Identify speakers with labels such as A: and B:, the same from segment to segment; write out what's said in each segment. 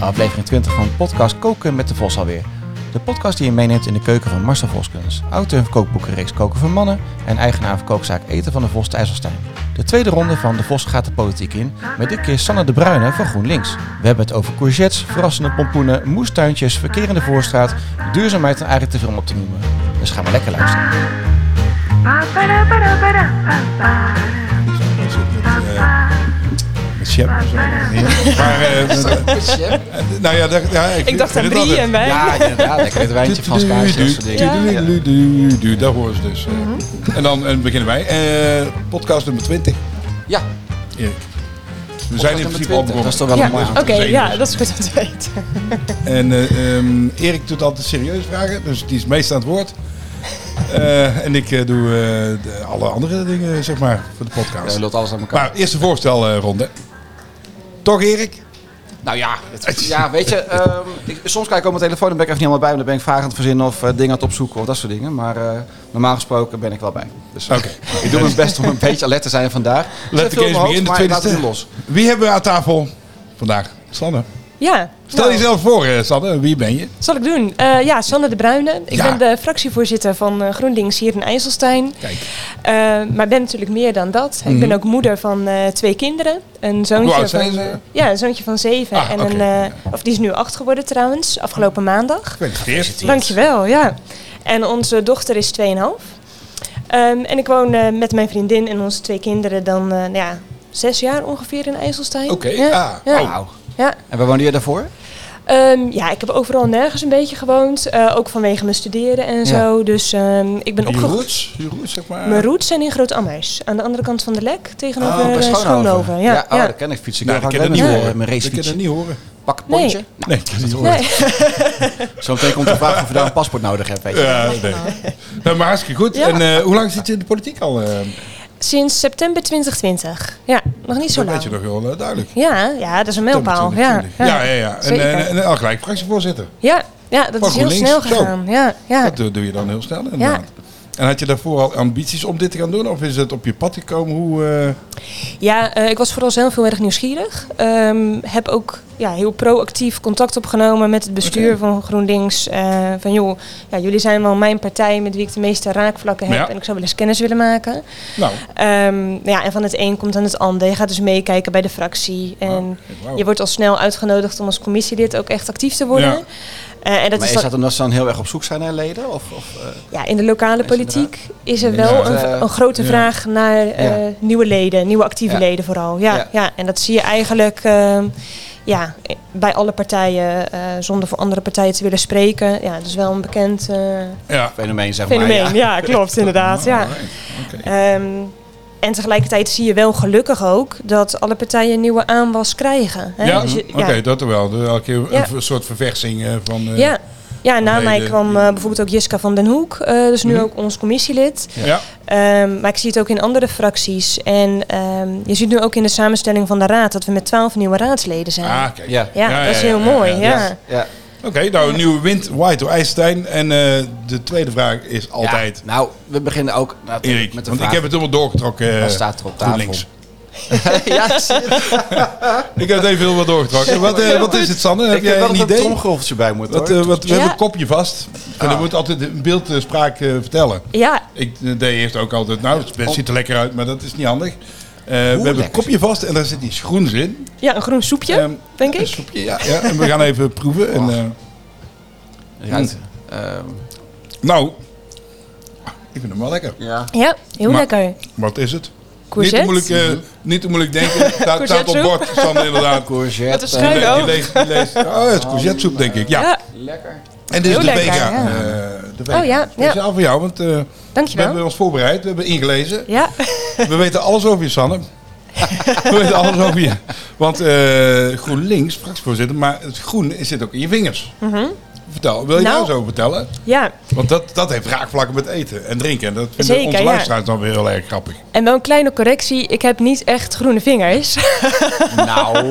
A: 29 van podcast Koken met de Vos alweer. De podcast die je meeneemt in de keuken van Marcel Voskens, auteur van kookboekenreeks Koken voor Mannen en eigenaar van kookzaak Eten van de Vos te IJsselstein. De tweede ronde van De Vos gaat de politiek in, met dit keer Sanne de Bruyne van GroenLinks. We hebben het over courgettes, verrassende pompoenen, moestuintjes, verkerende voorstraat, duurzaamheid en eigenlijk te veel om op te noemen. Dus ga maar lekker luisteren.
B: Ba, ba, da, ba, da, ba, da, ba, ba, da,
C: Als ik met, eh, met Shep en zo. Maar, eh, nou ja, daar- ja,
D: Ik dacht aan Brie en mij.
E: Ja, inderdaad. Lekker het wijntje van Skaasje, dat soort dingen.
D: Ja.
C: Duur, daar horen ze dus. eh.
D: Mhm.
C: En dan en beginnen wij. Eh, podcast nummer 20,
E: Ja,
C: Erik. We zijn
E: nummer
C: in principe al
E: 20,
C: begonnen.
A: dat is toch wel
D: Ja,
A: een mooi
D: oké, ja, dat is goed om te weten.
C: En eh, ehm, Erik doet altijd serieuze vragen, dus die is meest aan het woord. Eh, en ik eh, doe eh, de- alle andere dingen, zeg maar, voor de podcast.
E: we lult alles aan elkaar.
C: maar eerst de voorstelronde. Toch, Erik?
E: nou ja, het- ja weet je, ehm, ik- soms kijk ik op mijn telefoon en ben ik even niet helemaal bij. Want dan ben ik vragen aan het verzinnen of eh, dingen aan het opzoeken of dat soort dingen. Maar eh, normaal gesproken ben ik wel bij. Dus
C: Oké.
E: ik doe mijn best om een beetje alert te zijn vandaag. Er zit
C: Let
E: veel
C: de
E: in
C: case
E: mijn
C: begin, de
E: hoofd, maar
C: tweede
E: laat het nu
C: ster.
E: los.
C: Wie hebben we aan tafel vandaag? Sanne.
D: Ja.
C: Stel
D: nou,
C: jezelf voor, eh, Sanne. Wie ben je?
D: Zal ik doen? Eh, ja, Sanne de Bruyne. Ik
C: Ja.
D: ben de fractievoorzitter van eh, GroenLinks hier in IJsselstein.
C: Kijk.
D: Eh, maar ben natuurlijk meer dan dat. Ik ben ook moeder van eh, twee kinderen. Een zoontje
C: oud
D: van,
C: Mhm. Oh,
D: eh,
C: zijn ze?
D: Ja, een zoontje van zeven.
C: Ah,
D: en
C: oké,
D: een, eh, of die is nu acht geworden trouwens, afgelopen maandag.
C: Gefeliciteerd.
D: Dankjewel, ja. En onze dochter is 2,5. Ehm, en ik woon eh, met mijn vriendin en onze twee kinderen dan eh, nou ja, zes jaar ongeveer in IJsselstein.
C: Oké,
D: ja.
C: ah,
D: ja.
C: wauw.
D: Ja.
E: Nou. En waar woonde je daarvoor?
D: Ehm, ja, ik heb overal nergens een beetje gewoond. eh, ook vanwege mijn studeren en zo. Dus ehm, ik ben
C: Je
D: opgegroeid.
C: roots, je roots, zeg maar.
D: Mijn roots zijn in Groot-Ammeis. Aan de andere kant van de Lek, tegenover
E: Oh,
D: eh, Schoonhoven. Ja,
E: oh,
D: ja.
E: dat ken ik fiets. Ik
C: Nou,
E: ga
C: dat kan
E: met
C: dat niet
E: mijn-
C: horen.
E: mijn
C: Ik kan
E: racefiets.
C: dat niet horen.
E: Pak een pontje.
D: Nee.
C: Nee, ik kan dat niet horen.
D: Nee.
E: Zometeen komt de vraag of we daar een paspoort nodig hebben. Weet je.
C: Ja, nee. Nou, maar hartstikke goed.
D: Ja.
C: En eh, hoe lang zit je in de politiek al? eh?
D: Sinds september 2020. Ja, nog niet zo
C: dat weet je
D: lang.
C: nog wel eh, duidelijk.
D: Ja, ja, dat is een mijlpaal. Ja,
C: 20. ja, ja. ja. En, eh,
D: Zeker.
C: en, en al gelijk fractievoorzitter.
D: Ja, ja dat
C: Van
D: is heel
C: GroenLinks,
D: snel
C: zo.
D: gegaan. Ja, ja.
C: Dat doe doe je dan heel snel inderdaad. En had je daarvoor al ambities om dit te gaan doen? Of is het op je pad gekomen? Hoe, eh,
D: ja eh, ik was vooral zelf heel erg nieuwsgierig. Ehm, heb ook ja, heel proactief contact opgenomen met het bestuur
C: Oké.
D: van GroenLinks. eh, van joh, ja, jullie zijn wel mijn partij met wie ik de meeste raakvlakken heb.
C: Ja.
D: En ik zou wel eens kennis willen maken.
C: nou,
D: Ehm, ja, en van het een komt aan het ander. Je gaat dus meekijken bij de fractie. En
C: wauw.
D: je wordt al snel uitgenodigd om als commissielid ook echt actief te worden.
C: Ja.
D: Eh, en dat
E: Maar
D: is
E: is
D: dan-
E: dat omdat ze dan heel erg op zoek zijn naar leden? Of, of, eh,
D: ja, in de lokale politiek is er wel
E: Ja.
D: een, een grote
C: Ja.
D: vraag naar eh, nieuwe leden, nieuwe actieve
E: Ja.
D: leden vooral. Ja,
E: Ja.
D: ja. en dat zie je eigenlijk ehm, ja, bij alle partijen, eh, zonder voor andere partijen te willen spreken. Ja, dat is wel een bekend eh,
C: ja.
E: fenomeen, zeg
D: fenomeen.
E: maar.
D: ja. klopt inderdaad. Ja.
C: Alright, oké.
D: Ehm, en tegelijkertijd zie je wel gelukkig ook dat alle partijen nieuwe aanwas krijgen. hè.
C: Ja,
D: Dus je-
C: oké, dat wel. Dus elke keer
D: Ja.
C: een v- soort verversing eh, van... eh,
D: ja. ja, na
C: Nee,
D: mij
C: de-
D: kwam eh, bijvoorbeeld ook Jiska van den Hoek, eh, dus nu
C: Mhm.
D: ook ons commissielid.
C: ja.
D: Ehm, maar ik zie het ook in andere fracties. En ehm, je ziet nu ook in de samenstelling van de raad dat we met twaalf nieuwe raadsleden zijn.
C: Ah, kijk.
E: Ja.
D: ja,
C: ja,
D: dat is
C: ja,
D: heel
C: ja,
D: mooi.
C: ja,
D: Ja,
E: Ja. ja.
C: Oké, nou, een nieuwe wind waait door IJsselstein. En eh, de tweede vraag is altijd...
E: Ja, nou, we beginnen ook natuurlijk
C: Erik,
E: met
C: want
E: de vraag.
C: ik heb het helemaal doorgetrokken. eh,
E: Wat staat er op tafel?
C: GroenLinks.
E: ja, ik zie het.
C: Ik heb het even helemaal doorgetrokken. Wat, eh, wat is het, Sanne? Heb
E: ik heb
C: jij
E: wel
C: een
E: nog een
C: idee?
E: tromgeroffel bij moeten
C: Wat,
E: hoor.
C: eh, wat, we
D: Ja.
C: hebben een kopje vast. En
E: Ah.
C: dan moet altijd een beeldspraak eh, vertellen.
D: ja,
C: Ik eh, deed eerst ook altijd... Nou, het best ziet er lekker uit, maar dat is niet handig. Eh, we hebben een
E: lekker.
C: kopje vast en daar zit iets groens in.
D: ja, een groen soepje,
C: Ehm,
D: denk
C: Een
D: ik.
C: soepje, ja, ja. En we gaan even proeven. En, eh,
E: Ruikt, ehm,
C: nou, ik vind hem wel lekker.
E: ja.
D: Ja, heel
C: Maar-
D: lekker.
C: Wat is het?
D: Courgette.
C: Niet te moeilijk, eh, niet te moeilijk denken. Het staat- Het staat op
D: Courgettesoep?
C: bord, Sander, inderdaad.
D: Met een
E: Courgette.
D: schuin
C: Die
D: oog.
C: leest, die leest. Oh, het is courgettesoep, denk ik. Ja.
D: Ja,
E: Lekker.
C: En dit is
D: Heel
C: de
D: lekker,
C: Vega.
D: ja.
C: eh, de Vega.
D: Oh, ja, ja.
C: Speciaal voor jou, want eh, we
D: dankjewel.
C: hebben ons voorbereid. We hebben ingelezen.
D: Ja,
C: We weten alles over je, Sanne. we weten alles over je. Want eh GroenLinks, fractievoorzitter, maar het groen zit ook in je vingers. Vertel, wil je
D: Mhm. Nou.
C: daar zo vertellen?
D: ja.
C: Want dat, dat heeft raakvlakken met eten en drinken. En dat vinden
D: Zeker,
C: onze
D: ja.
C: luisteraars dan weer heel erg grappig.
D: En wel een kleine correctie. Ik heb niet echt groene vingers.
E: Nou,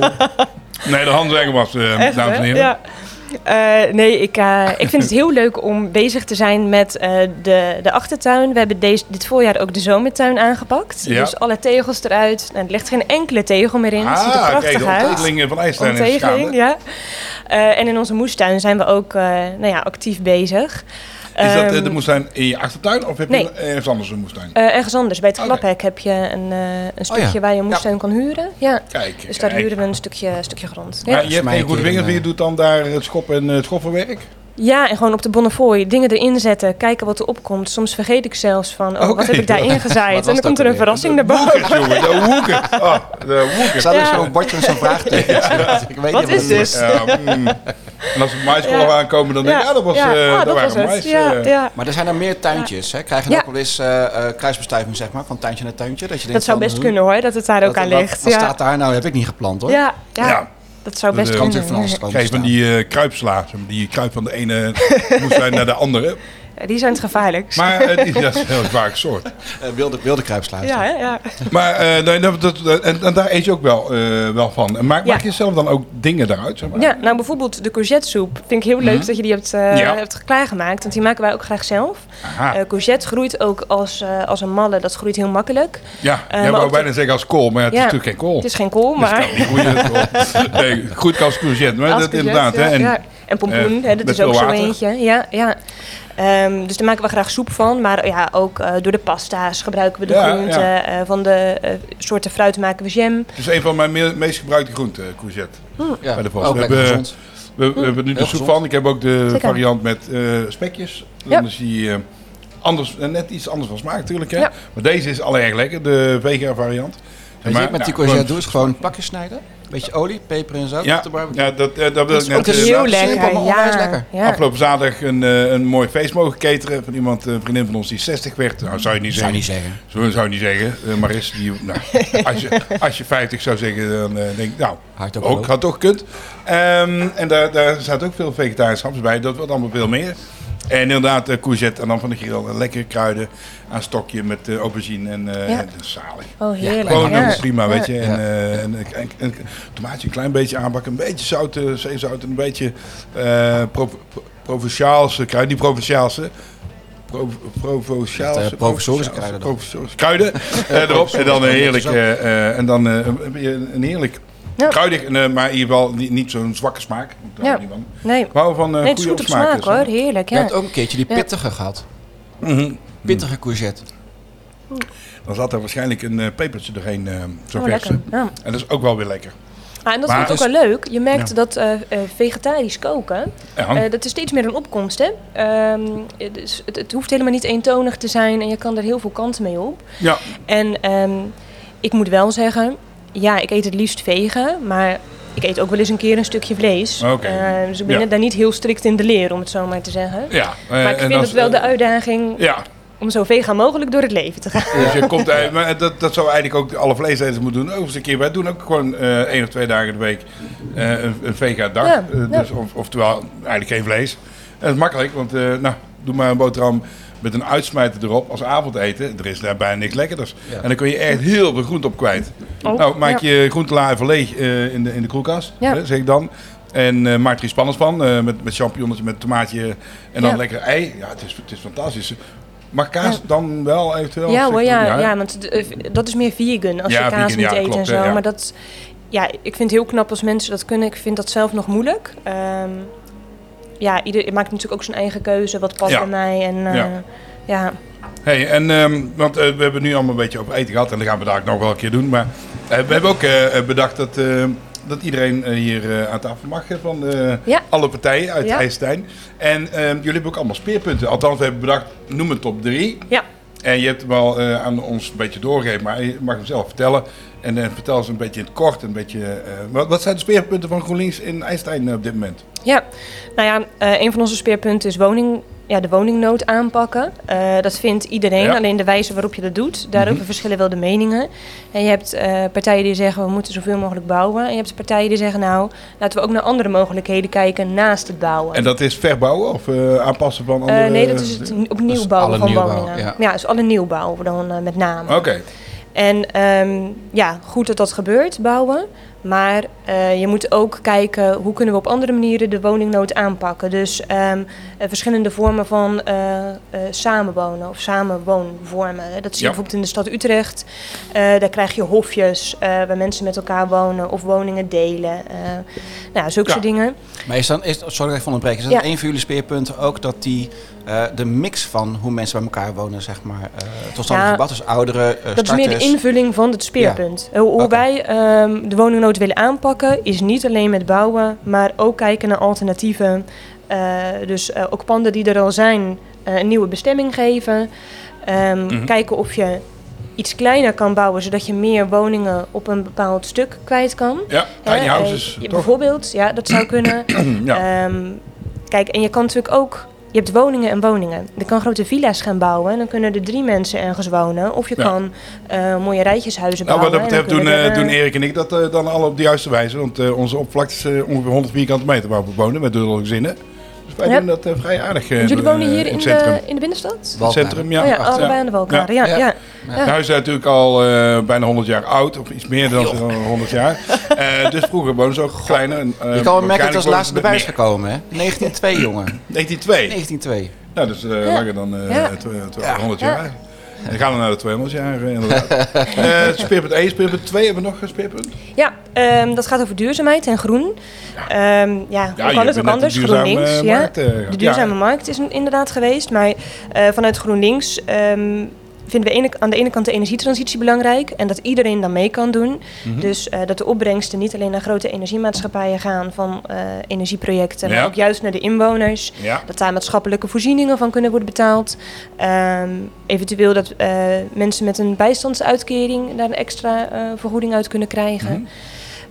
C: Nee, de handwerker was, eh,
D: Echt,
C: dames en
D: hè?
C: heren.
D: Ja. Eh, nee, ik, eh, ik vind het heel leuk om bezig te zijn met eh, de, de achtertuin. We hebben deze, dit voorjaar ook de zomertuin aangepakt.
C: Ja.
D: Dus alle tegels eruit. Nou, er ligt geen enkele tegel meer in. het ziet er
C: Ah,
D: prachtig
C: kijk, de
D: uit.
C: onttegelingen van IJsselstein is
D: Onttegeling,
C: gaande.
D: ja. Eh, en in onze moestuin zijn we ook eh, nou ja, actief bezig.
C: Is dat eh,
D: Ehm,
C: de moestuin in je achtertuin of heb
D: nee.
C: je ergens anders een moestuin?
D: eh, ergens anders, bij het
C: Oké. Oh
D: glaphek heb je een, eh, een stukje
A: ja.
D: waar je een moestuin kan huren. Ja.
C: Kijk,
D: Dus daar
C: kijk.
D: huren we een stukje, stukje grond. Ja.
C: Maar je hebt
A: mij
C: geen goede
A: een eh, keer
C: vingers,
A: een,
C: wie doet dan daar het schop en eh, het schofferwerk?
D: Ja, en gewoon op de Bonnefoy dingen erin zetten, kijken wat er opkomt. Soms vergeet ik zelfs van, oh,
C: Oké.
D: wat heb ik daar ingezaaid?
A: was
D: en dan
A: dat
D: komt er een
A: weer?
D: verrassing naar boven.
C: Jongen, de hoeken. Oh, de
E: Er
C: hoeken.
E: staat dus ook
D: Ja.
E: zo'n bordje met zo'n vraagteken. dus Ik weet
D: Wat
E: niet
D: is
E: het
D: dit?
C: Ja, mm. En als we maiskollen
D: Ja.
C: aankomen, dan denk ik, ja, dat was, eh
D: ja, ah,
C: dat
D: dat was
C: waren
D: het.
C: mais.
D: ja,
C: eh.
D: ja.
E: Maar er zijn er meer tuintjes. Hè? Krijgen
D: Ja.
E: ook wel eens eh, eh, kruisbestuiving, zeg maar, van tuintje naar tuintje? Dat, je denkt
D: Dat zou
E: van,
C: eh,
D: best
E: hm,
D: kunnen hoor, dat het daar ook
E: wat-
D: aan
E: wat-
D: ligt.
E: Wat
D: Ja.
E: staat daar nou? Heb ik niet gepland hoor.
D: Ja, ja,
C: Ja.
D: dat zou
C: Dat,
D: best
C: eh,
E: Kan zich
D: kunnen.
E: van alles komen
C: Kijk, van
E: te
C: die eh kruipslaars, die kruipt van de ene moestuin naar de andere.
D: Ja, Die zijn het gevaarlijkst.
C: eh, Maar eh, die, dat is een heel vaak soort.
E: staan. Eh, wilde, wilde kruipsluiter.
D: ja, hè, ja.
C: Maar eh, nee, dat, dat- dat- en, en daar eet je ook wel, eh, wel van. En maak,
D: Ja.
C: maak je zelf dan ook dingen daaruit? Zeg maar?
D: ja, nou bijvoorbeeld de courgettesoep. Vind ik heel leuk dat je die hebt, eh,
C: Mhm. Ja.
D: hebt klaargemaakt. Want die maken wij ook graag zelf.
C: Aha.
D: Eh, courgette groeit ook als, eh, als een malle. Dat groeit heel makkelijk.
C: ja,
D: eh,
C: jij
D: maar
C: wou
D: ook
C: bijna zeggen als kool, maar het
D: Ja.
C: is natuurlijk geen kool.
D: Het is geen kool, maar...
C: Dus dat- goeie- nee, goed als courgette, maar
D: Als
C: dat
D: courgette,
C: inderdaad.
D: ja,
C: hè, en,
D: ja. En pompoen,
C: eh,
D: hè, dat
C: met
D: is ook
C: veel
D: zo
C: water.
D: eentje. Ja, ja. Ehm, dus daar maken we graag soep van. Maar ja, ook eh, door de pasta's gebruiken we de
C: Ja,
D: groenten.
C: ja.
D: eh, van de eh, soorten fruit maken we jam.
C: Het is een van mijn me- meest gebruikte groenten, eh, courgette.
E: Ja,
C: Bij de Vos.
E: ook
C: We
E: lekker
C: hebben-
E: gezond.
C: We, we hebben nu de
E: heel
C: soep
E: gezond.
C: van. Ik heb ook de
D: Zeker.
C: variant met eh, spekjes. Dan
D: Ja.
C: is die eh, anders, eh, net iets anders van smaak natuurlijk. Hè?
D: Ja.
C: Maar deze is al erg lekker, de vega variant.
E: Weet je wat ik met die
C: nou,
E: courgette doe? Is
C: gewoon-
E: gewoon plakjes snijden. Beetje olie, peper en zout op
C: Ja,
E: de barbecue.
C: ja, dat, eh, dat wil ik
E: is
C: net
E: ook
C: eh,
E: heel
C: laten zien.
E: lekker, maar onwijs lekker.
D: ja.
C: Afgelopen zaterdag een, eh, een mooi feest mogen cateren van iemand, eh, een vriendin van ons die 60 werd. Nou, zou je niet
E: Zou je
C: zeggen.
E: niet zeggen.
C: Zo zou je niet zeggen. Eh, maar is die, nou, als, je, als je 50 zou zeggen, dan eh, denk ik, nou,
E: Hard ook
C: ook,
E: gelopen.
C: had toch kunt. Ehm, en daar, daar zaten ook veel vegetarisch hams bij. Dat wordt allemaal veel meer. En inderdaad, eh, courgette en dan van de grill. En lekkere kruiden aan stokje met eh, aubergine en, eh
D: Ja.
C: en salie.
D: Oh, heerlijk.
C: Gewoon
D: ja.
C: helemaal prima, weet je. En,
E: Ja.
C: eh, en, en- en- tomaatje een klein beetje aanbakken, een beetje zout, eh, zeezout en een beetje eh pro- pro- provinciaalse kruiden. Die provinciaalse. Pro, provinciaalse.
E: Echt, eh, provisorische kruiden dan.
C: Provisorische kruiden eh, erop. En dan een heerlijk, eh, eh, en dan, eh, een- een, een heerlijk
D: Ja.
C: kruidig, en, eh, maar in ieder geval niet, niet zo'n zwakke smaak. Daar
D: Ja.
C: hou ik niet van.
D: Nee.
C: Ik hou van eh
D: nee, het is
C: goede
D: goed op
C: smaak.
D: smaak hoor. Heerlijk,
E: Je
D: ja. Oh,
E: hebt ook een keertje die
D: Ja.
E: pittige gehad.
C: Mhm.
E: Pittige courgette.
C: Dan zat er waarschijnlijk een eh, pepertje doorheen, eh zo'n
D: Oh,
C: verse.
D: lekker. Ja.
C: En dat is ook wel weer lekker.
D: Ah, en dat
C: Maar
D: vind ik ook
C: het
D: wel leuk. Je merkt
C: Ja.
D: dat eh, eh, vegetarisch koken,
C: Ja.
D: eh, dat is steeds meer een opkomst. Hè? Ehm, eh, dus het, het hoeft helemaal niet eentonig te zijn en je kan er heel veel kanten mee op.
C: ja.
D: En ehm, ik moet wel zeggen, ja, ik eet het liefst vegan, maar ik eet ook wel eens een keer een stukje vlees.
C: Oké.
D: Eh, dus ik ben
C: Ja.
D: net daar niet heel strikt in de leer, om het zo maar te zeggen.
C: Ja, eh,
D: Maar ik vind het wel de uitdaging
C: Ja,
D: om zo vegan mogelijk door het leven te gaan.
C: dus je komt, eh, maar dat, dat zou eigenlijk ook alle vleeseters moeten doen. Ook eens een keer, wij doen ook gewoon eh één of twee dagen de week eh, een, een vega dag.
D: Ja,
C: Eh,
D: ja.
C: dus, of, oftewel, eigenlijk geen vlees. En dat is makkelijk, want eh, nou, doe maar een boterham met een uitsmijter erop als avondeten. Er is daar bijna niks lekkerders.
E: Ja.
C: En dan kun je echt heel veel groente op kwijt.
D: Ook,
C: nou, maak
D: Oh, ja.
C: je groentelaar even leeg eh, in, de, in de koelkast,
D: Ja.
C: hè, zeg ik dan. En eh maak er iets spannends van, eh, met, met champignonnetje, met tomaatje en dan
D: Ja.
C: lekker ei. Ja, het is, het is fantastisch. Maar kaas dan wel eventueel?
D: Ja hoor, ja, ja.
C: Ja,
D: want d- eh, dat is meer vegan als
C: Ja,
D: je kaas
C: vegan,
D: niet
C: ja,
D: eet en
C: klopt,
D: zo.
C: hè, ja.
D: Maar dat, ja, ik vind het heel knap als mensen dat kunnen. Ik vind dat zelf nog moeilijk. Ehm, ja, ieder maakt natuurlijk ook zijn eigen keuze, wat past
C: Ja.
D: bij mij. En, eh,
C: Ja.
D: ja.
C: Hey, en, ehm, want eh, we hebben nu allemaal een beetje over eten gehad en dat gaan we daar ook nog wel een keer doen. Maar eh, we hebben ook eh, bedacht dat, eh, dat iedereen eh, hier eh, aan tafel mag hè, van eh,
D: Ja.
C: alle partijen uit
D: Ja.
C: IJsselstein. En ehm, jullie hebben ook allemaal speerpunten. Althans, we hebben bedacht, noem een top 3.
D: ja.
C: En je hebt hem al eh, aan ons een beetje doorgegeven, maar je mag hem zelf vertellen. En eh, vertel eens een beetje in het kort, een beetje, eh, wat, wat zijn de speerpunten van GroenLinks in IJsselstein eh, op dit moment?
D: Ja, nou ja, eh, een van onze speerpunten is woning, ja, de woningnood aanpakken. Eh, dat vindt iedereen,
C: Ja.
D: alleen de wijze waarop je dat doet. Daarover verschillen wel de meningen. En je hebt eh, partijen die zeggen we moeten zoveel mogelijk bouwen. En je hebt partijen die zeggen nou, laten we ook naar andere mogelijkheden kijken naast het bouwen.
C: En dat is verbouwen of eh, aanpassen van
D: Eh,
C: andere...
D: nee, dat is het n- opnieuw
E: dus
D: bouwen
E: alle
D: van
E: nieuwbouw,
D: woningen.
E: ja.
D: Ja. dus alle nieuwbouw dan eh, met name.
C: Oké,
D: En ehm, ja, goed dat dat gebeurt, bouwen. Maar eh, je moet ook kijken hoe kunnen we op andere manieren de woningnood aanpakken. Dus ehm, eh, verschillende vormen van eh, eh, samenwonen of samenwoonvormen. Dat zie je
C: Ja.
D: bijvoorbeeld in de stad Utrecht. Eh, daar krijg je hofjes eh, waar mensen met elkaar wonen of woningen delen. Eh nou, zulke
C: Ja.
D: soort dingen.
E: Maar is dan, is, sorry dat ik even onderbreek, is dat
D: Ja.
E: een van jullie speerpunten ook dat die, eh, de mix van hoe mensen bij elkaar wonen, zeg maar, eh tot stand
D: Ja.
E: gebracht? Dus ouderen, eh,
D: Dat is meer de
E: starters.
D: invulling van het speerpunt. Eh, Hoe, hoe
E: Oké.
D: wij ehm, de woningnood willen aanpakken is niet alleen met bouwen, maar ook kijken naar alternatieven. Eh, dus eh, ook panden die er al zijn, eh, een nieuwe bestemming geven. Ehm,
C: Mhm.
D: Kijken of je iets kleiner kan bouwen, zodat je meer woningen op een bepaald stuk kwijt kan.
C: Ja, tiny
D: Hè,
C: houses,
D: eh, je-
C: toch?
D: bijvoorbeeld, ja, dat zou kunnen.
C: Ja.
D: Ehm, kijk, en je kan natuurlijk ook. Je hebt woningen en woningen. Je kan grote villa's gaan bouwen. En dan kunnen er drie mensen ergens wonen. Of je
C: Ja.
D: kan eh, mooie rijtjeshuizen
C: Nou, wat
D: bouwen.
C: dat
D: en dan
C: betreft doen,
D: kunnen
C: eh,
D: er,
C: doen
D: eh,
C: Erik en ik dat eh, dan alle op de juiste wijze. Want eh, onze oppervlakte is eh, ongeveer 100 vierkante meter waar we wonen met dubbele gezinnen. Dus wij
D: Ja.
C: doen dat eh, vrij aardig. eh,
D: Jullie wonen
C: eh,
D: hier
C: in
D: in
C: het centrum.
D: de, in de binnenstad?
E: Waltuin.
C: centrum, ja.
D: oh ja,
C: achter-
D: allebei aan de Walkade. Ja, ja.
E: Ja.
C: Het huis is natuurlijk al eh, bijna 100 jaar oud, of iets meer dan 100 jaar. Eh, dus vroeger woonden ze ook kleiner. en, eh,
E: Je kan wel
C: waarschijnlijk
E: merken dat het als
C: woonden
E: laatste
C: ze met
E: erbij is
C: meer.
E: gekomen, hè? 1902, jongen.
C: 1902.
E: 1902.
C: Nou, dat is eh, langer dan eh
D: Ja.
C: tw- eh, 1200 jaar. Dan gaan we naar de 200 jaar, eh, inderdaad. Eh speerpunt 1, speerpunt 2, hebben we nog een speerpunt?
D: Ja, ehm, dat gaat over duurzaamheid en groen. Ehm, ja, hoe
C: je
D: kan het
C: bent
D: ook
C: net
D: anders?
C: de duurzame,
D: GroenLinks,
C: eh,
D: ja.
C: markt, eh,
D: De
C: gehad.
D: duurzame
C: Ja.
D: markt is een- inderdaad geweest, maar eh, vanuit GroenLinks ehm, vinden we ene- aan de ene kant de energietransitie belangrijk en dat iedereen dan mee kan doen.
C: Mhm.
D: Dus eh, dat de opbrengsten niet alleen naar grote energiemaatschappijen gaan van eh, energieprojecten,
C: Ja.
D: maar ook juist naar de inwoners.
C: Ja.
D: Dat daar maatschappelijke voorzieningen van kunnen worden betaald. Ehm, eventueel dat eh, mensen met een bijstandsuitkering daar een extra eh, vergoeding uit kunnen krijgen.
C: Mhm.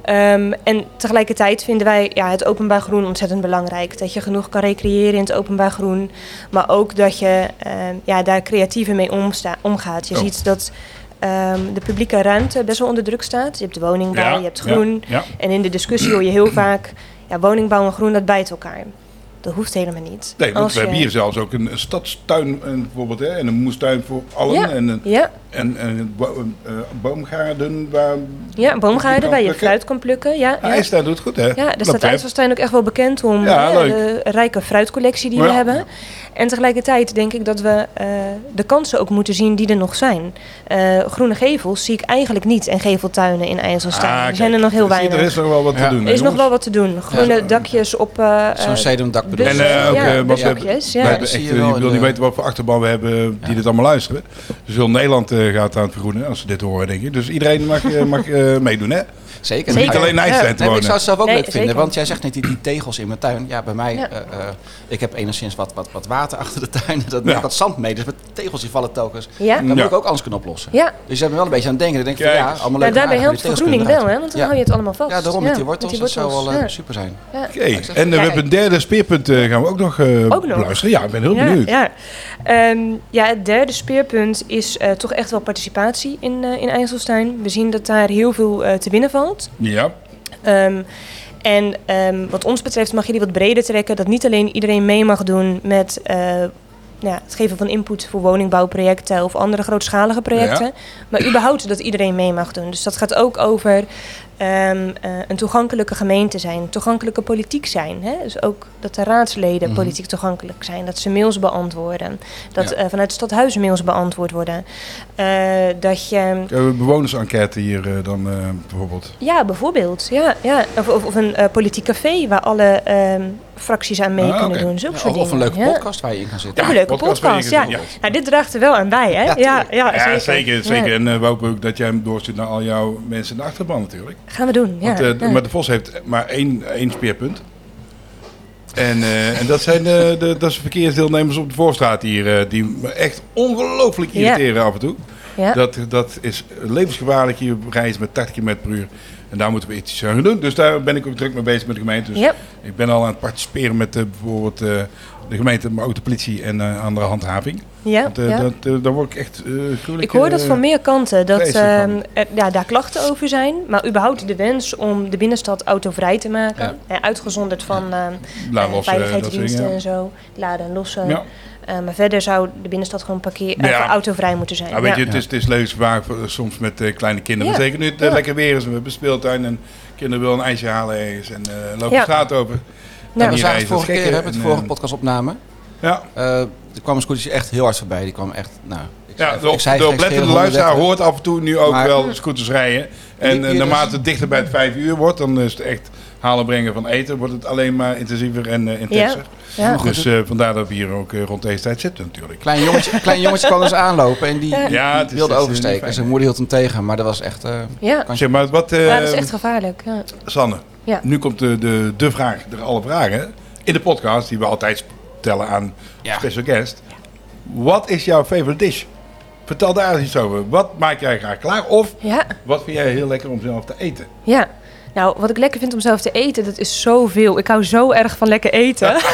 D: Ehm, en tegelijkertijd vinden wij ja, het openbaar groen ontzettend belangrijk. Dat je genoeg kan recreëren in het openbaar groen. Maar ook dat je ehm, ja, daar creatiever mee omsta- omgaat. Je
C: Oh.
D: ziet dat ehm, de publieke ruimte best wel onder druk staat. Je hebt woningbouw,
C: Ja,
D: je hebt
C: ja,
D: groen.
C: ja.
D: En in de discussie hoor je heel vaak... Ja, woningbouw en groen, dat bijt elkaar. Dat hoeft helemaal niet.
C: Nee, want
D: Als
C: we
D: eh,
C: hebben
D: je-
C: hier zelfs ook een, een stadstuin eh, bijvoorbeeld, hè, en een moestuin voor allen.
D: Ja.
C: En, een,
D: Ja,
C: en, en een bo- een, eh, boomgaarden waar...
D: ja boomgaarden waar je
C: plukken. Ah,
D: fruit kan plukken. Ja,
C: Ja.
D: ja.
C: IJsland doet het goed, hè?
D: Ja, daar
C: Dat
D: staat
C: betreft.
D: IJsselstein ook echt wel bekend om
C: Nou, Ja,
D: hè, de
C: leuk.
D: rijke fruitcollectie die
C: Ja.
D: we hebben. En tegelijkertijd denk ik dat we eh, de kansen ook moeten zien die er nog zijn. Eh, groene gevels zie ik eigenlijk niet en geveltuinen in IJsselstein.
C: Ah,
D: er zijn er
C: kijk,
D: nog heel
C: dus
D: weinig.
C: Er is nog wel wat
E: Ja.
C: te doen.
D: Er is nog wel wat te doen. Groene
C: Ja.
D: dakjes op... eh, eh,
E: Zo'n sedumdak bedoel
D: bussen.
C: En eh, ook,
D: ja,
C: eh, wat we hebben-
D: busdakjes,
C: We
D: ja.
C: hebben
E: dat
C: echt,
E: zie
C: eh,
E: je wel
C: je wil
E: in
C: niet
E: de-
C: weten wat voor achterban we hebben eh, die dit allemaal luisteren. Dus heel Nederland eh, gaat aan het vergroenen als ze dit horen, denk ik. Dus iedereen mag, eh, mag eh, meedoen, hè?
E: Zeker.
D: Zeker.
C: Niet alleen eh, in IJsland
E: Nee, maar ik
C: wonen.
E: zou het zelf ook
D: Nee,
E: leuk vinden,
D: zeker.
E: want jij zegt net die, die tegels in mijn tuin. Ja, bij mij,
D: Ja.
E: eh, eh, ik heb enigszins wat, wat, wat water achter de tuin. Dat
C: Ja.
E: maakt wat zand mee, dus met tegels die vallen telkens.
D: Ja.
E: Dan moet
C: Ja.
E: ik ook anders kunnen oplossen.
D: Ja.
E: Dus je hebt me wel een beetje aan het denken. Ik denk van
C: Kijk
E: ja,
C: eens.
E: allemaal
D: Nou,
E: leuk.
D: daarbij helpt vergroening wel, hè? want dan
E: Ja.
D: hou je het allemaal vast.
E: Ja, daarom met die
D: met
E: wortels. Dat zou wel eh,
D: wortels, ja.
E: super zijn.
D: Ja.
C: Oké, en eh, we hebben een derde speerpunt eh, gaan we ook nog, eh
D: Ook nog?
C: luisteren. Ja, ik ben heel
D: ja,
C: benieuwd.
D: Ja. Ehm, ja, het derde speerpunt is eh, toch echt wel participatie in, eh, in IJsselstein. We zien dat daar heel veel eh, te winnen valt.
C: Ja.
D: Ehm, en ehm, wat ons betreft mag je die wat breder trekken. Dat niet alleen iedereen mee mag doen met eh, nou ja, het geven van input voor woningbouwprojecten of andere grootschalige projecten. Maar überhaupt dat iedereen mee mag doen. Dus dat gaat ook over ehm, eh, een toegankelijke gemeente zijn, toegankelijke politiek zijn. Hè? Dus ook dat de raadsleden
E: Mhm.
D: politiek toegankelijk zijn, dat ze mails beantwoorden. Dat
E: Ja.
D: eh, vanuit het stadhuis mails beantwoord worden. Eh, dat je.
C: We hebben een eh, bewonersenquête hier eh, dan eh, bijvoorbeeld.
D: Ja, bijvoorbeeld. Ja, ja. Of, of, of een eh, politiek café waar alle ehm, fracties aan mee
C: Ah,
D: kunnen
C: oké.
D: doen. Zulke
E: Ja,
D: soort
E: of, of een
D: dingen.
E: leuke
D: Ja.
E: podcast waar je in kan zitten.
D: Of een leuke
C: podcast waar
D: podcast,
C: je
D: ja.
C: in kan zitten.
D: Nou, dit draagt er wel aan bij, hè? Ja, ja,
C: Ja, zeker. zeker.
D: Ah, Ja.
C: En eh, we hopen ook dat jij hem doorstuurt naar al jouw mensen in de achterban natuurlijk.
D: Gaan we doen, ja.
C: Want eh, de-
D: ja.
C: maar de Vos heeft maar één, één speerpunt. En, eh, en dat zijn de, de, dat zijn verkeersdeelnemers op de voorstraat hier. eh, die me echt ongelooflijk
D: Ja.
C: irriteren af en toe.
D: Ja.
C: Dat, dat is levensgevaarlijk hier. We rijden met 80 km per uur. En daar moeten we iets aan gaan doen. Dus daar ben ik ook druk mee bezig met de gemeente. Dus
D: Ja.
C: ik ben al aan het participeren met eh, bijvoorbeeld eh, de gemeente, maar ook de politie en eh, andere handhaving.
D: Ja,
C: Want, eh,
D: ja.
C: dat, eh, daar word ik echt eh gruwelijk...
D: Ik hoor dat
C: eh,
D: van meer kanten, dat
C: vreselijk
D: ehm,
C: van.
D: er- ja, daar klachten over zijn. Maar überhaupt de wens om de binnenstad autovrij te maken. Eh, uitgezonderd van ehm,
C: laat los, eh,
D: eh,
C: dat soort
D: veiligheidsdiensten
C: dingen.
D: en zo. Laden en lossen.
C: Ja.
D: Eh, maar verder zou de binnenstad gewoon parkeer, eh,
C: Ja.
D: autovrij moeten zijn.
C: Ja, weet
D: Ja.
C: je, het is, het is levensgevaarlijk voor- soms met eh, kleine kinderen.
D: Ja.
C: Zeker nu het eh,
D: Ja.
C: lekker weer is en we hebben speeltuin en kinderen willen een ijsje halen ergens en eh, lopen
D: Ja.
C: de straat over.
D: Nou,
A: we
C: die
A: zagen
C: reizen,
A: het
C: dat
A: vorige
C: is
A: keer,
C: gekke.
A: hebben we
C: En,
A: het vorige
C: eh,
A: podcastopname.
C: Ja,
A: Eh er kwam een scootertje echt heel hard voorbij. Die kwam echt, nou... Ik
C: ja
A: ik
C: de, op- de
A: geen schreeuw,
C: oplettende luisteraar
A: 130.
C: hoort af en toe nu ook
A: Maar-
C: wel scooters rijden. En
A: Hier-
C: eh,
A: hier
C: naarmate
A: is-
C: het dichter bij het vijf uur wordt, dan is het echt halen brengen van eten, wordt het alleen maar intensiever en eh, intenser.
D: Ja.
C: Dus eh, vandaar dat we hier ook eh, rond deze tijd zitten natuurlijk.
A: Klein jongetje, klein jongetje kwam dus aanlopen en die, die-
C: Ja,
A: die
C: het is-
A: wilde
C: het is niet
A: oversteken.
C: fijn.
A: Zijn moeder hield hem tegen, maar dat was echt... eh,
D: Ja.
A: Kan-
C: Zeg maar, wat, eh,
D: Ja, dat is echt gevaarlijk. Ja.
C: Sanne,
D: Ja.
C: nu komt de, de, de vraag, de alle vragen in de podcast die we altijd stellen aan
A: Ja.
C: special guest. Wat is jouw favorite dish? Vertel daar eens iets over. Wat maak jij graag klaar? Of
D: ja.
C: wat vind jij heel lekker om zelf te eten?
D: Ja. Nou, wat ik lekker vind om zelf te eten, dat is zoveel. Ik hou zo erg van lekker eten.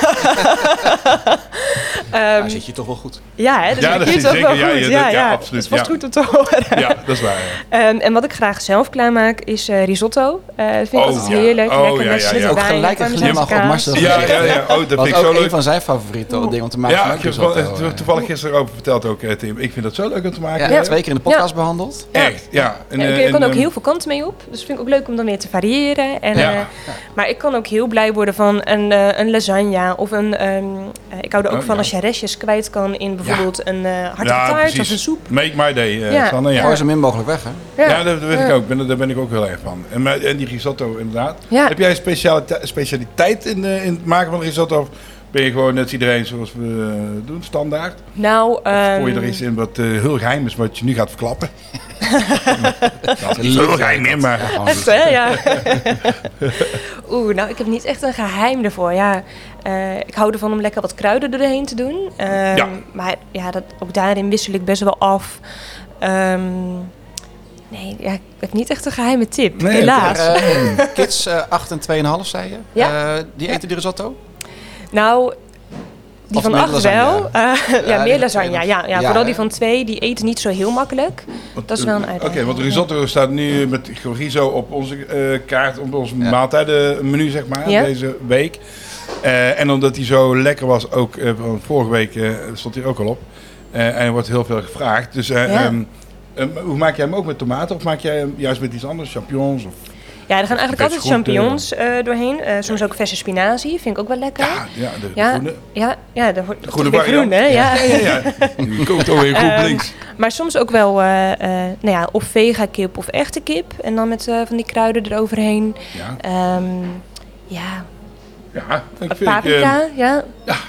D: Ehm,
A: nou, zit je toch wel goed.
D: ja, hè, dus dat
C: Ja,
D: vind ik
C: dat
D: hier
C: is
D: toch
C: zeker.
D: wel
C: Ja, ja,
D: goed.
C: dat- ja, absoluut,
D: Het is vast
C: ja.
D: goed om te horen.
C: Ja, dat is waar. ja.
D: Ehm, en wat ik graag zelf klaarmaak is eh, risotto. Eh, dat vind
C: Oh,
D: ik altijd
C: ja.
D: heerlijk.
C: Oh,
D: lekker
C: ja,
D: met
C: ja, ja.
D: witte
A: Ook
D: wijn,
A: gelijk het
D: parmezaanse
A: glimlach op
D: kaas.
A: Marcel.
C: Ja, ja, ja. Oh,
A: Dat
C: dat vind ik
A: was ook
C: zo
A: een
C: leuk.
A: van zijn favoriete dingen om te maken.
C: Ja,
A: met
C: ik heb
A: risotto,
C: er
A: eh.
C: wel- toevallig gisteren over verteld ook, eh, Tim. Ik vind dat zo leuk om te maken.
A: Ja,
C: hè?
A: twee keer in de podcast behandeld.
C: Echt, ja. En,
D: Ja,
C: eh,
D: ik- ik kan
C: en,
D: ook
C: ehm,
D: heel veel kanten mee op. Dus vind ik ook leuk om dan weer te variëren. En,
C: Ja.
D: eh, maar ik kan ook heel blij worden van een, eh een lasagne of een... ehm, eh, ik hou er ook
C: Oh,
D: van
C: ja.
D: als je restjes kwijt kan in bijvoorbeeld een eh hartige
C: ja,
D: taart
C: precies.
D: of een soep.
C: Make my day, eh,
D: Ja.
C: Sanne.
A: Gooi zo min mogelijk weg, hè?
C: Ja, dat, dat weet ik ook. Ben, daar ben ik ook heel erg van. En, maar- en die risotto inderdaad.
D: Ja.
C: Heb jij een specialite- specialiteit in, eh, in het maken van risotto? Of ben je gewoon net iedereen zoals we eh, doen, standaard?
D: Nou,
C: Of
D: ehm,
C: gooi je er iets in wat eh, heel geheim is, wat je nu gaat verklappen? dat is heel geheim in, maar...
D: echt hè? Ja. Oeh, nou ik heb niet echt een geheim ervoor. Ja, eh, ik hou ervan om lekker wat kruiden erheen te doen. Ehm,
C: Ja.
D: Maar ja, dat, ook daarin wissel ik best wel af. Ehm, nee, ja, ik heb niet echt een geheime tip,
C: Nee,
D: helaas.
A: Maar, eh, kids eh 8 en 2,5 zei je.
D: Ja.
A: Eh, die eten die risotto?
D: Nou, die
A: Of
D: van
A: meer
D: acht
A: lasagne.
D: wel. Eh, ja,
A: die
D: meer
A: van
D: lasagne. Ja,
A: twee
D: ja,
A: nog. Ja,
D: vooral
A: hè?
D: die van twee, die eten niet zo heel makkelijk. Dat is wel een
C: Oké,
D: uitdaging.
C: want risotto staat nu met chorizo op onze eh, kaart, op ons maaltijdenmenu, zeg maar,
D: Ja.
C: deze week. Eh, en omdat hij zo lekker was, ook eh, van vorige week eh, stond hij ook al op. Eh, en er wordt heel veel gevraagd. Dus eh,
D: Ja.
C: ehm, ehm, hoe maak jij hem ook met tomaten of maak jij hem juist met iets anders, champignons? Of,
D: Ja, er gaan eigenlijk altijd
C: Beetje groente.
D: champignons eh, doorheen. Eh, soms ook verse spinazie, vind ik ook wel lekker.
C: ja, Ah, ja, de, de
D: Ja,
C: groene.
D: Ja, ja de, de
C: groene
D: groene groen,
C: variant.
D: hè? Ja.
C: Ja, ja, ja. Die kookt alweer goed
D: Ehm,
C: links.
D: Maar soms ook wel, eh, eh, nou ja, of vega kip of echte kip. En dan met eh, van die kruiden eroverheen.
C: Ja,
D: Ehm, ja,
C: ja dat vind ik, eh,
D: paprika, ja.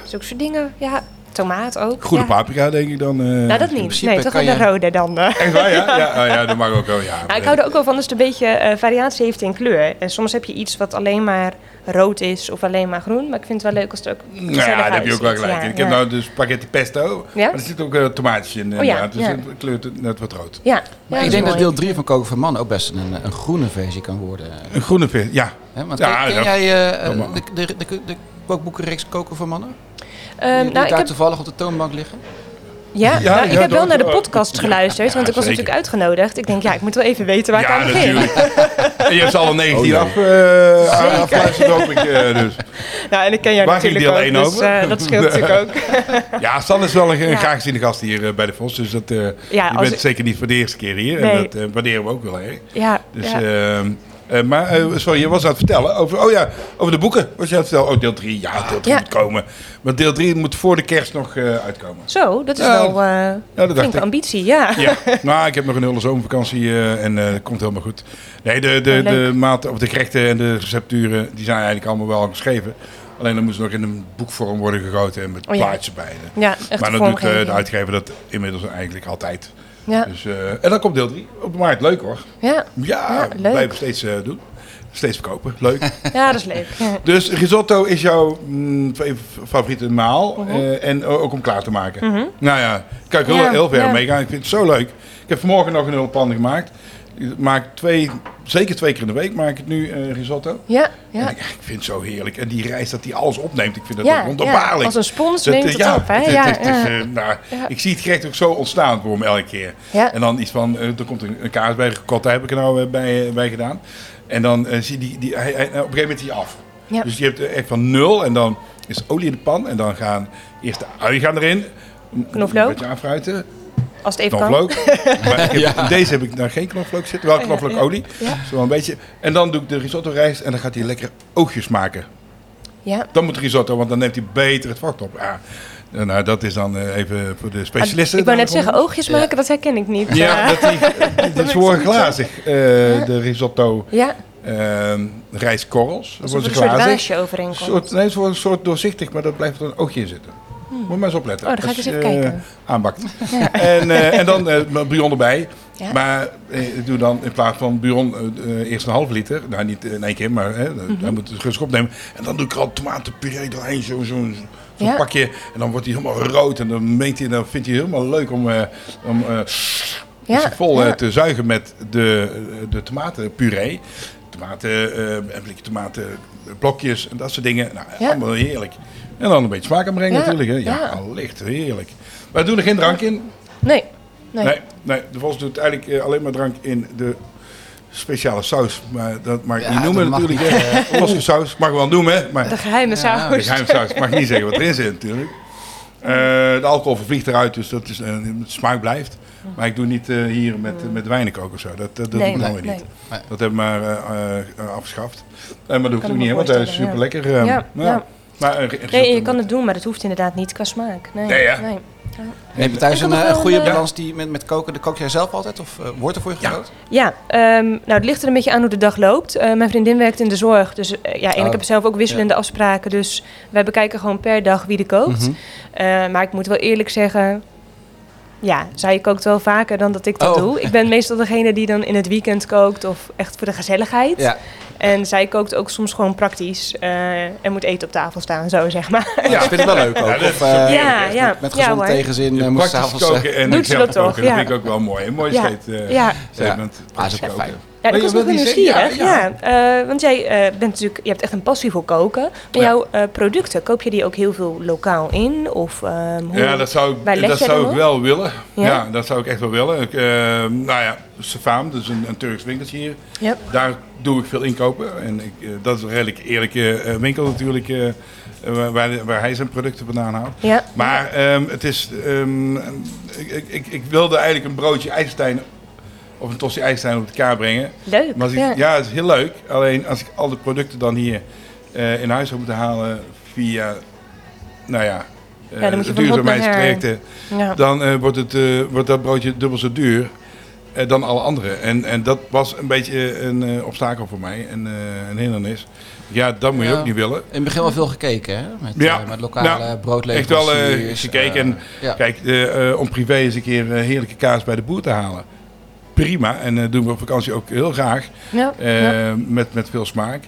D: Zulke soort dingen, ja. Tomaat ook.
C: groene
D: ja.
C: paprika, denk ik dan. eh.
D: Nou, dat niet.
A: principe
D: Nee, toch
A: kan
D: wel de
A: je-
D: rode dan. eh.
C: Echt waar, ja? Ja, oh, ja, dat mag ook wel, ja.
D: Nou, ik hou er ook wel van als het een beetje eh, variatie heeft in kleur. En soms heb je iets wat alleen maar rood is of alleen maar groen. Maar ik vind het wel leuk als het ook
C: Nou ja, daar heb je ook wel gelijk. in. ik heb nou dus spaghetti pesto,
D: Ja? Oh
C: maar er zit ook eh, tomaatjes in
D: ja,
C: inderdaad. dus
D: ja.
C: het kleurt het net wat rood.
D: Ja, ja,
A: ik
D: is
A: denk dat
D: mooi.
A: deel 3 van Koken voor Mannen ook best een, een groene versie kan worden.
E: eh,
C: Een groene vis, ja.
A: Hè? Want
C: Ja,
A: ken, ken
C: ja.
A: jij eh,
C: Kom maar.
A: de, de, de, de kookboekenreeks Koken voor Mannen?
D: Ehm,
A: Die- die
D: nou, ik
A: daar
D: heb
A: toevallig op de toonbank liggen?
D: Ja,
C: Ja,
D: nou, ik
C: ja,
D: heb wel
C: dat-
D: naar de
C: oh.
D: podcast geluisterd, want ik was
C: zeker.
D: natuurlijk uitgenodigd. Ik denk, ja, ik moet wel even weten waar ik
C: ja,
D: aan begin.
C: natuurlijk. en je hebt ze alle 19 af, eh afgeluisterd, hoop ik. eh, dus.
D: Nou, en ik ken jou
C: Waar ging
D: natuurlijk
C: deel
D: ook,
C: één
D: dus
C: over?
D: eh, dat scheelt natuurlijk ook.
C: Ja, Stan is wel een, een
D: Ja.
C: graag geziene gast hier eh, bij de Vos. Dus dat, eh,
D: Ja,
C: je
D: als
C: bent
D: ik-
C: zeker niet voor de eerste keer hier. En
D: Nee.
C: dat eh, waarderen we ook wel erg.
D: Ja,
C: Dus,
D: ja.
C: ehm, eh, maar eh, sorry, je was aan het vertellen over, oh ja, over de boeken. Was je aan het vertellen? Oh, deel 3. Ja, deel 3
D: Ja.
C: moet komen. Maar deel 3 moet voor de kerst nog eh, uitkomen.
D: Zo, dat is
C: Ja,
D: wel eh
C: Ja, dat dacht
D: flinke
C: ik.
D: ambitie, ja.
C: Ja, nou, ik heb nog een hele zomervakantie eh, en eh, dat komt helemaal goed. Nee, de, de,
D: Oh, leuk.
C: de, maat, of de gerechten en de recepturen, die zijn eigenlijk allemaal wel geschreven. Alleen dan moet ze nog in een boekvorm worden gegoten en met
D: Oh ja.
C: plaatjes bij.
D: Ja, echt
C: maar
D: een
C: dat doet eh,
D: vormgeving.
C: de uitgever dat inmiddels eigenlijk altijd.
D: Ja,
C: Dus, eh, en dan komt deel 3 op de markt. Leuk hoor.
D: ja.
C: Ja,
D: Ja, leuk.
C: blijven steeds eh, doen. Steeds verkopen. Leuk.
D: ja, dat is leuk. Ja.
C: dus risotto is jouw mm, fa- favoriete maal. eh, en o- ook om klaar te maken. Nou ja, kan ik heel,
D: Ja,
C: heel ver
D: Mhm. ja.
C: mee gaan. Ik vind het zo leuk. Ik heb vanmorgen nog een hele pan gemaakt. Ik maak twee, zeker twee keer in de week maak ik het nu, eh, risotto.
D: Ja,
C: En
D: ja.
C: ik, ik vind het zo heerlijk. En die reis dat die alles opneemt, ik vind dat
D: Ja,
C: ook
D: ja.
C: wonderbaarlijk.
D: Als een spons
C: Dat,
D: neemt
C: eh,
D: het
C: ja,
D: op, hè?
C: het- het-
D: Ja,
C: het is,
D: ja.
C: eh, nou,
D: Ja.
C: Ik zie het gerecht ook zo ontstaan voor hem elke keer.
D: Ja.
C: En dan iets van, eh, er komt een, een kaas bij gekot, daar heb ik er nou eh, bij, eh, bij gedaan. En dan eh, zie je die, die hij, hij- op een gegeven moment is hij af.
D: Ja.
C: Dus je hebt eh, echt van nul en dan is olie in de pan. En dan gaan eerst de ui gaan erin.
D: Knoflook.
C: Een beetje aanfruiten.
D: Als het even kan.
C: Knoflook. maar ik heb, in Deze heb ik nou geen knoflook zitten, wel
D: Oh
C: knoflookolie. Zo een beetje. En dan doe ik de risotto rijst en dan gaat hij lekker oogjes maken.
D: Ja.
C: Dan moet risotto, want dan neemt hij beter het vocht op. Ja. Eh, Nou, dat is dan eh, even voor de
D: Ah,
C: specialisten.
D: ik wou
C: dan
D: net zeggen, oogjes maken, dat herken ik niet.
C: Ja,
D: Eh,
C: dat die, het is voor glazig, eh, de risotto
D: ja.
C: ehm rijstkorrels. Dan
D: Alsof
C: worden
D: er
C: ze
D: een soort
C: glazig.
D: raasje overheen komt.
C: Soort, nee, het wordt een soort doorzichtig, maar dat blijft er een oogje in zitten. Moet maar eens opletten.
D: Oh, dan ga ik
C: Als
D: eens
C: je,
D: even
C: eh,
D: kijken.
C: Aanbakt. En, eh, en dan eh Brion erbij.
D: Ja.
C: Maar eh, ik doe dan in plaats van Brion eh, eh, eerst een half liter. Nou, niet in één keer, maar hè,
D: Mhm.
C: hij moet het rustig opnemen. En dan doe ik er al tomatenpuree doorheen, zo'n zo, zo'n zo'n
D: Ja.
C: pakje. En dan wordt hij helemaal rood. En dan, meent hij, dan vindt hij het helemaal leuk om, eh, om eh,
D: Ja,
C: zich vol
D: ja.
C: eh, te zuigen met de, eh, de tomatenpuree. Tomaten, eh, een blikje tomatenblokjes en dat soort dingen. Nou,
D: Ja.
C: allemaal heerlijk. En dan een beetje smaak aanbrengen
D: Ja,
C: natuurlijk. Hè. Ja,
D: ja.
C: allicht, heerlijk. Maar doen er geen drank in.
D: Nee. Nee.
C: Nee, nee, de Vos doet eigenlijk eh, alleen maar drank in de speciale saus. Maar dat mag ik
E: Ja,
C: niet noemen
E: dat mag
C: natuurlijk. hè. Losse saus, mag ik wel noemen. hè, Maar
D: De geheime
C: de
D: saus.
C: geheimsaus mag ik niet zeggen wat erin zit natuurlijk. Eh, de alcohol vervliegt eruit, dus dat is, eh, de smaak blijft. Maar ik doe niet eh, hier met, met wijnen koken of zo. Dat, dat, dat
D: Nee,
C: doe ik dan
D: nee,
C: weer niet.
E: nee.
C: Dat hebben we maar eh, eh, eh, afgeschaft. Eh, maar dat hoeft
D: me
C: ook niet, hè, want dat
D: voorstellen,
C: is super lekker.
D: Ja, ja.
C: Maar, eh,
D: Nee, je
C: risotto
D: kan
C: met-
D: het doen, maar dat hoeft inderdaad niet qua smaak. Nee,
C: Nee, hè?
E: Heb je thuis
D: Ik had
E: een
D: nog wel
E: eh, goede
D: een, eh,
E: balans die met, met koken? De kook jij zelf altijd of eh, wordt er voor je
C: Ja.
E: gekookt?
D: Ja, ehm, nou, het ligt er een beetje aan hoe de dag loopt. Eh, mijn vriendin werkt in de zorg, dus eh, ja, en
E: Oh,
D: ik heb zelf ook wisselende afspraken. Dus wij bekijken gewoon per dag wie er kookt.
E: Mhm.
D: Eh, maar ik moet wel eerlijk zeggen, ja, zij kookt wel vaker dan dat ik dat
E: Oh.
D: doe. Ik ben meestal degene die dan in het weekend kookt of echt voor de gezelligheid.
E: Ja.
D: En zij kookt ook soms gewoon praktisch eh, en moet eten op tafel staan, zo zeg maar.
E: Ja. Oh, vind ik wel leuk ook.
C: Ja, dat
E: of,
C: is
E: eh,
C: ook-
D: ja,
C: echt,
D: ja,
E: Met
D: ja,
E: gezond
D: hoor.
E: tegenzin eh, moet je
C: Praktisch
E: s'avonds... eh,
C: koken en
D: Doet ze
C: zelf
D: dat toch,
C: koken,
D: ja.
C: Dat vind ik ook wel mooi. Een mooi
D: Ja.
C: scheet, eh,
D: Ja.
C: statement.
E: Ah, dat is ook
C: Koken.
E: fijn.
D: Ja,
C: Maar
D: ik was
C: je
D: nog wel
C: wilt niet zeggen-
D: nieuwsgierig. Ja,
C: ja,
D: eh, want jij eh, bent natuurlijk, je hebt echt een passie voor koken. Maar
C: Ja.
D: jouw eh, producten, koop je die ook heel veel lokaal in? Of, ehm, hoe...
C: Ja, dat zou,
D: Waar
C: ik-
D: let
C: dat
D: jij dan
C: zou
D: op?
C: ik wel willen.
D: Ja?
C: Ja? dat zou ik echt wel willen. Ik, eh, nou ja, Safaam, dat is een, een Turks winkeltje hier.
D: Ja.
C: Daar doe ik veel inkopen. En ik, eh, dat is een redelijk eerlijke eh, winkel natuurlijk, eh, eh, waar, waar hij zijn producten vandaan haalt.
D: Ja.
C: Maar ehm, het is, ehm, ik, ik- ik, ik wilde eigenlijk een broodje IJsselstein of een tossie IJsselstein op de kaart brengen.
D: Leuk.
C: Maar als ik-
D: ja.
C: ja. het is heel leuk. Alleen als ik al de producten dan hier eh, in huis zou moeten halen via, nou ja, eh,
D: Ja, dan moet je van hot naar her.
C: duurzaamheidsprojecten,
D: Ja.
C: dan eh, wordt, het, eh, wordt dat broodje dubbel zo duur eh, dan alle andere. En, en dat was een beetje eh, een eh, obstakel voor mij, en, eh, een hindernis. Ja, dat moet je
E: Ja.
C: ook niet willen.
E: In het begin wel veel gekeken, hè? Met,
C: Ja.
E: eh, met lokale
C: Nou,
E: broodleveranciers.
C: Echt wel eh,
E: eh,
C: gekeken. en,
E: ja.
C: Kijk, eh, eh, om privé eens een keer eh, heerlijke kaas bij de boer te halen. Prima, en eh, doen we op vakantie ook heel graag.
D: Ja,
C: Eh,
D: ja.
C: met, met veel smaak.